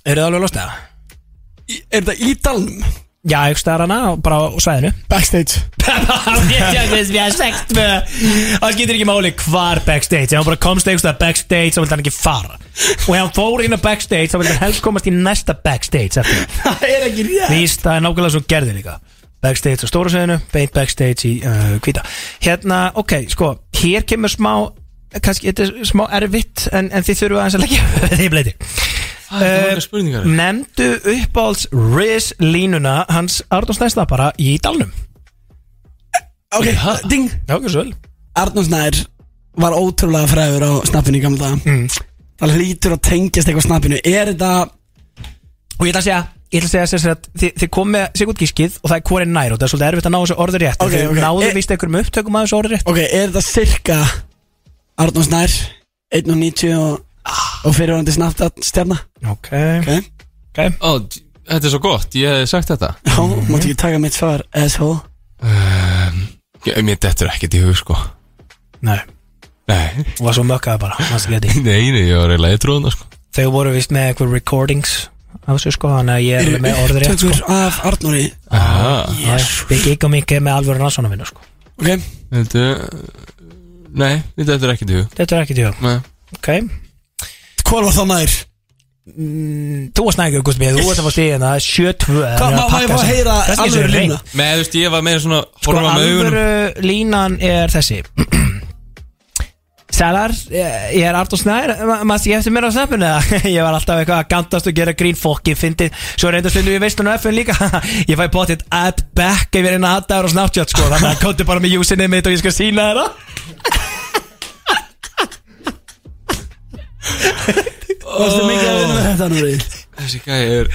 Eru það alveg lost eða?
Í- Er þetta í dalnum?
Já, ekki staðarana, bara á svæðinu
Backstage
Það skiptir ekki máli hvar backstage Ef hann bara komst einhverstað backstage þá vildi hann ekki fara Og ef hann fór inn á backstage þá vildi hann helst komast í næsta backstage eftir það.
Það er ekki rétt
Víst, það er nákvæmlega svo gerði líka Backstage á stóra sveðinu, beint backstage í uh, hvíta Hérna, ok, sko Hér kemur smá kannski, þetta er smá erfitt En, en þið þurfa aðeins að leggja (laughs) Þið bleiti
Það er margar spurningar
Nemndu uppáhalds Riz línuna Hans Arnór Snæsna bara í dalnum
Ok, ding
Já, ekki svo vel
Arnús Nær var ótrúlega fræður á snappinu í gamla daga
Mm.
Það hlýtur að tengjast eitthvað snappinu Er þetta
Og ég ætla að segja Ég ætla að segja sem sagt Þið, þið kom með Sigurd Gískið Og það er hvorin nær Og það er svolítið erfitt að ná þessu orður rétt
Ok,
Þið
ok.
náðu
E-
vist einhverjum upptökum að þessu orður rétt
Ok, er þetta cirka Arnór Snær 1.90 og, og fyrirvörandi snabbt stjarna
Ok
Ok,
Ó, d- þetta er svo gott, ég hef sagt þetta
já,
Mhm.
máttu ekki taka mitt svar asshole
Ég- Mér dettur ekkert í hug, sko
Nei,
Nei,
hún var svo mökkaði bara manstu ekki eftir
(laughs)
því.
nei, nei, ég var eiginlega í trúðuna, sko
Þau voru vist með eitthvað recordings af þessu sko, þannig að ég er
(laughs)
alveg með orður rétt sko
Tökur af Arnóri
Ah. Aha,
Við gíkum ekki með alvöru rannsónavinnu sko
Ok,
þetta Nei, mér dettur ekkert í hug
Þetta er ekki til
Nei,
Ok
hvað var það maður?
Þú varst nægur, Gusti Bíð, þú varst að fá stíðina, það er 7-2
Hvað, má- má ég fá að heyra alvöru línu?
Nei, þú veist, ég var meira svona
Sko,
Horfa með augunum
alvöru línan er þessi Sælar, eh, ég er Artur Snær ma- maður ég eftir mér á snappinu eða? (laughs) ég var alltaf eitthvað að gandast og gera grín fokkin fyndið, svo reynda stundum ég veistlun á FN líka (laughs) ég fæ potið at back ef ég reyna að aðdagur og snáttjátt sko þannig að kóti bara með júsinni mitt og ég skal sína þeirra
Varstu mikið að vinna með þetta Arnóri?
Þessi gæði er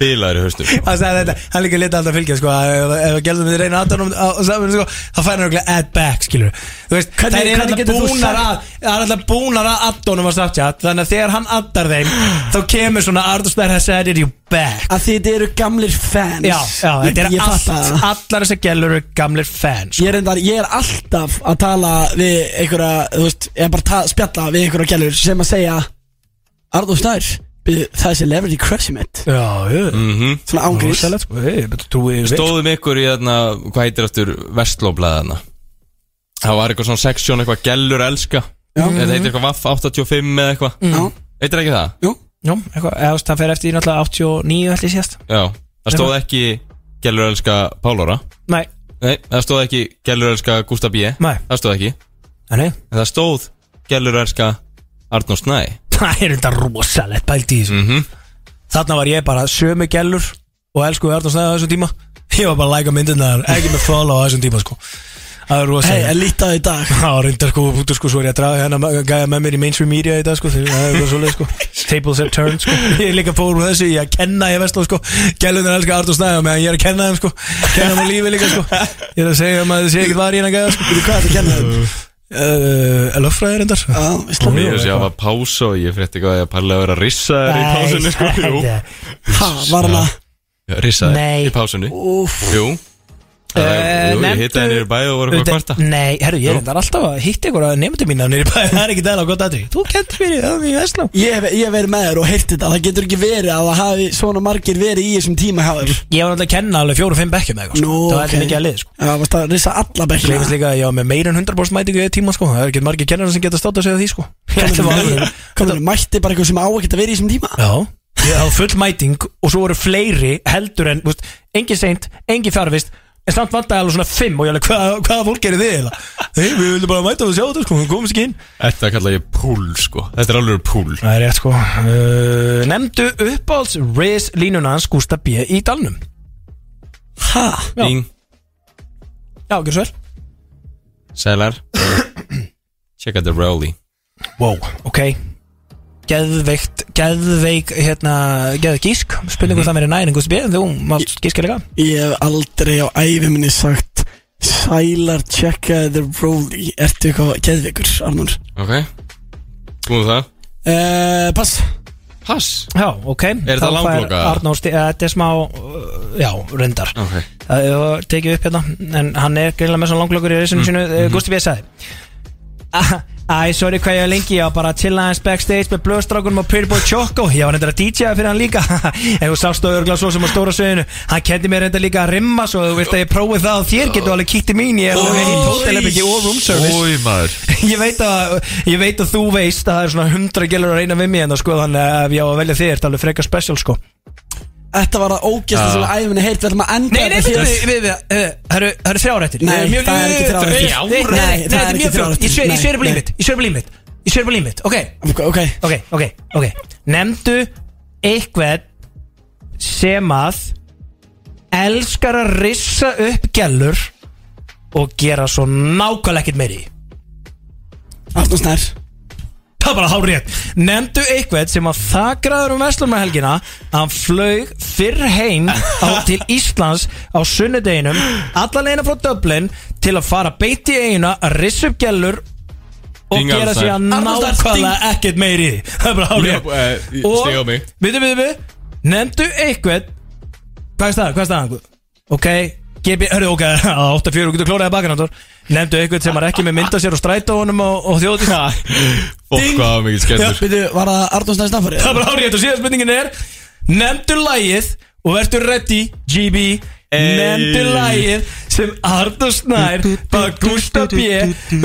Bílar í haustum (laughs)
hann sagði þetta, hann líka lítið alltaf fylgja sko að ef ef að gerðum við reyna aðdánum og saminu sko, þá fær hann örugglega add back skilur þú veist,
Hvernig-
þær eru
hvernig
alltaf
getur þú
búnar
sagt-
að það er alltaf búnar að addónum á Snapchat þannig að þegar hann addar þeim þá kemur svona Arthur Snær has added you back
Að því þetta eru gamlir fans
já, já, þetta er
Ég
allt
fatta það.
allar þessar gælur eru gamlir fans
Ég er, endar, ég er alltaf að tala við einhverja, þú veist, ég er bara að ta- spjalla við einhverja gælur sem að segja Arnór Snær, byrju, það er celebrity crushið mitt
já, já,
Svona ángriðs
sérlega sko hey, betur trúið við
Mhm. Stóðum ykkur í þarna, hvað heitir aftur Vestlóblaðana Það var eitthvað svona seksjón, eitthvað gellur elska Þetta heitir eitthvað Vaff 85 eða eitthvað
Já,
Heitir ekki það?
jú,
já, eitthvað, eða þú veist, það fer eftir í náttúrulega 89 ætli síðast
Já, það stóð ekki gellur elska Pálóra
nei,
Nei, það stóð ekki gellur elska Gustaf B
Nei.
Það stóð ekki
nei, nei
En það stóð gellur elska Arnór Snæ
Það er þetta rosalegt pælt í þessu
Mhm.
Þarna var ég bara sömu gellur Og elsku Arnur Snæði á þessum tíma Ég var bara að læka myndirnar Ekki með follow á þessum tíma sko Það er
hei,
rosalegt
að líta á í dag
Það var reyndar sko út sko Svo er ég að draga hérna ma- Gæja með mér í mainstream media í dag sko þegar Það er eitthvað
(laughs)
svolítið sko Tables have turned sko Ég er líka fór úr þessu Ég er að kenna ég vestló sko Gælunar elska Arnur Snæði Meðan ég er að kenna þeim sko Kenna þeim á lífi líka sko Ég er að segja um að það sé ekkert var í hérna gæja sko
Byrju, hvað er þetta að kenna þeim?
Uh, Löffræðir endar
Já, veistla
Ég veist ég hafa pása og ég frétti eitthvað að Palli að vera rissaður í pásunni
(laughs)
sko Jú,
Ha, var hann að
Já, rissaður
Nei.
í pásunni
Úff,
Jú, það
Eh,
er, jú ég
nefndu-
hitta henni í bæði og voru eitthvað að
Auðvitað-
kvarta
Nei, herru, ég reyndar alltaf að hitta ykkur að nefndu mína nýri bæ, það er ekki dæla gott aðri Þú kentir mér í það í Vestló
Ég hef, ég hef verið með þér og heyrt þetta Það getur ekki verið að það hafi svona margir verið í þessum tíma hjá þér
Ég var alltaf að kenna alveg fjóru og fimm bekkjum eða eitthvað sko. Það
ok.
var heldur mikið að lið sko.
Já, varst að risa alla
Gleifist
bekkina
líka að ég var með meira en 100% mætingu í einn tíma sko. Það er ekki margir kennarar sem geta státt að segja því sko. Þetta var alveg
Komur, mætti bara eitthvað sem á að geta verið í þessum tíma
Já Ég hafði full mæting og svo voru fleiri heldur en, þú veist, engin seint, engin fjarvist en samt vantaði alveg svona fimm og ég alveg, hvað, hvaða fólk gerir þið eiginlega? Nei, við vildum bara mæta og sjá þetta sko, við komumst ekki inn
Þetta kalla ég púl sko Þetta er alveg púl
Það er rétt sko uh, Nemndu uppáhalds Riz línuna hans Gústa B. í dalnum
Ha,
Já.
Ding,
Já, ekki svo vel
sælar Check out the rally
Wow, ok Geðveikt, geðveik, hérna, geð gísk Spurningu mm það mér er næring Gústa B. en Þú mátt gíska líka
ég hef aldrei á æfiminni sagt Sælar checka the rolly Ertu eitthvað geðveikur, Arnur?
Ok Búum það
Uh, pass
Pass
Já, ok
Er þetta langloka?
Arnór, eh, þetta er smá, uh, já, reyndar
Ok
Það er tekið upp hérna En hann er greinlega með svona langlökur í reysinu sínu mm -hmm. Gusti B. sagði "Ah, Æ, sorry hvað ég er lengi Ég var bara að chilla hans backstage með blöðstrákunum og Pretty Boy Choco Ég var reyndar að DJ-a fyrir hann líka (laughs) En þú sást á örgla svo sem á stóra sveinu Hann kendi mér reyndar líka að rimma Svo þú vilt að ég prófi það og þér getur alveg kíkt í mín Ég er alveg í hótelefbyggi og room service
Ói maður
(laughs) ég, veit að, ég veit að þú veist að það er svona hundra gælur að reyna við mér En það sko þannig að ef ég á að velja þér Það er alveg frekar special sko
Þetta var að ógjast þessum
Já.
æfinni heilt Við ætlum að enda
Nei, nei,
þetta
fyrir,
hér.
við, við, við, það eru- það eru þrjárættir
Nei, það er ekki þrjár eftir.
Nei,
Nei,
nei,
það
það
er
er
ekki þrjár
mjög fjórt
eftir.
Ég sver, ég
Nei,
sver
nei.
blímit, ég sver blímit Ég sver blímit, ok,
Ok, ok
ok, ok, ok Nemndu eitthvað sem að elskar að rissa upp gælur og gera svo nákvæmlega ekkert meiri í.
Arnur Snær
Það er bara hár rétt Nemndu eitthvað sem að þakraður um Vestlumhelgina að hann flög fyrr heim
(laughs)
á, til Íslands á sunnudeginum alla leina frá Dublin til að fara beint í eiguna að rissa upp gælur og
King
gera
Arnstein.
síðan
Arnstein,
nákvæmlega ekkert meiri í því. (laughs) það er bara hálf
Já, eh, ég- stig á mig.
byrju, byrju, byrju nefndu einhvern hvað er staðan, hvað er staðan ok, gebi, hörru, ok (laughs) 8-4, þú getur klóraðið bakinn Andor. nefndu einhvern sem er ekki með mynda sér og stræta honum og, og þjóðið
(laughs)
(laughs)
Fólk hvað var mikið skellur
Býtu, var það Arnóðs næst aðfari?
það er bara hálf og síðan spurningin er nefndu lægið og verður ready, GB nefndu lægið sem Arnur Snær bað Gústa B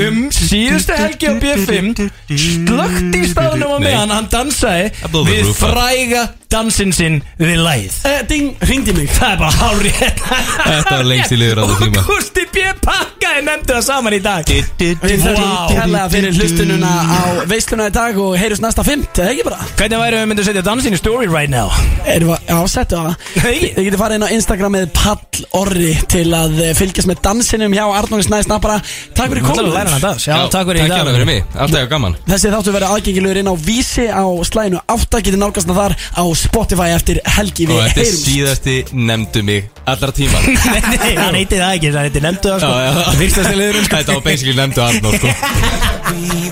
um síðustu helgi á B5 slögt í staðnum á
Nei.
meðan hann dansaði
blew the
við
roof up.
fræga dansinn sinn við lægið
Ding, ringdi mig
það er bara hálf
Eh. Þetta var lengst í liður að það
og
tíma
Gústi B pakkaði nefndu það saman í dag
Við þurfum
Vá.
kærlega fyrir hlustununa á veisluna í dag og heyrjus næsta fimmt, eða ekki bara?
hvernig væri við myndum að setja dansinn í story right now
Erum við að setja það?
Nei.
Þið getur farið inn á Instagramið Pall Orri til að eh, fylgjast með dansinum hjá Arnóðs næst bara Takk fyrir
Ætlarðu að læra
komið
hann að dans? Já, takk fyrir í dag
Takk hérna fyrir mig, alltaf ég gaman
Þessi þáttu verið aðgengilegur inn á Vísi á slæðinu 8 getur nálgast það þar á Spotify eftir helgi
Og
við
þetta er
heyrumst
síðasti nefndu mig allra
(laughs)
tíma
Nei, hann heiti það ekki, hann heiti nefndu það sko Virtasti liðurinn sko (laughs)
Þetta var basically nefndu Arnór sko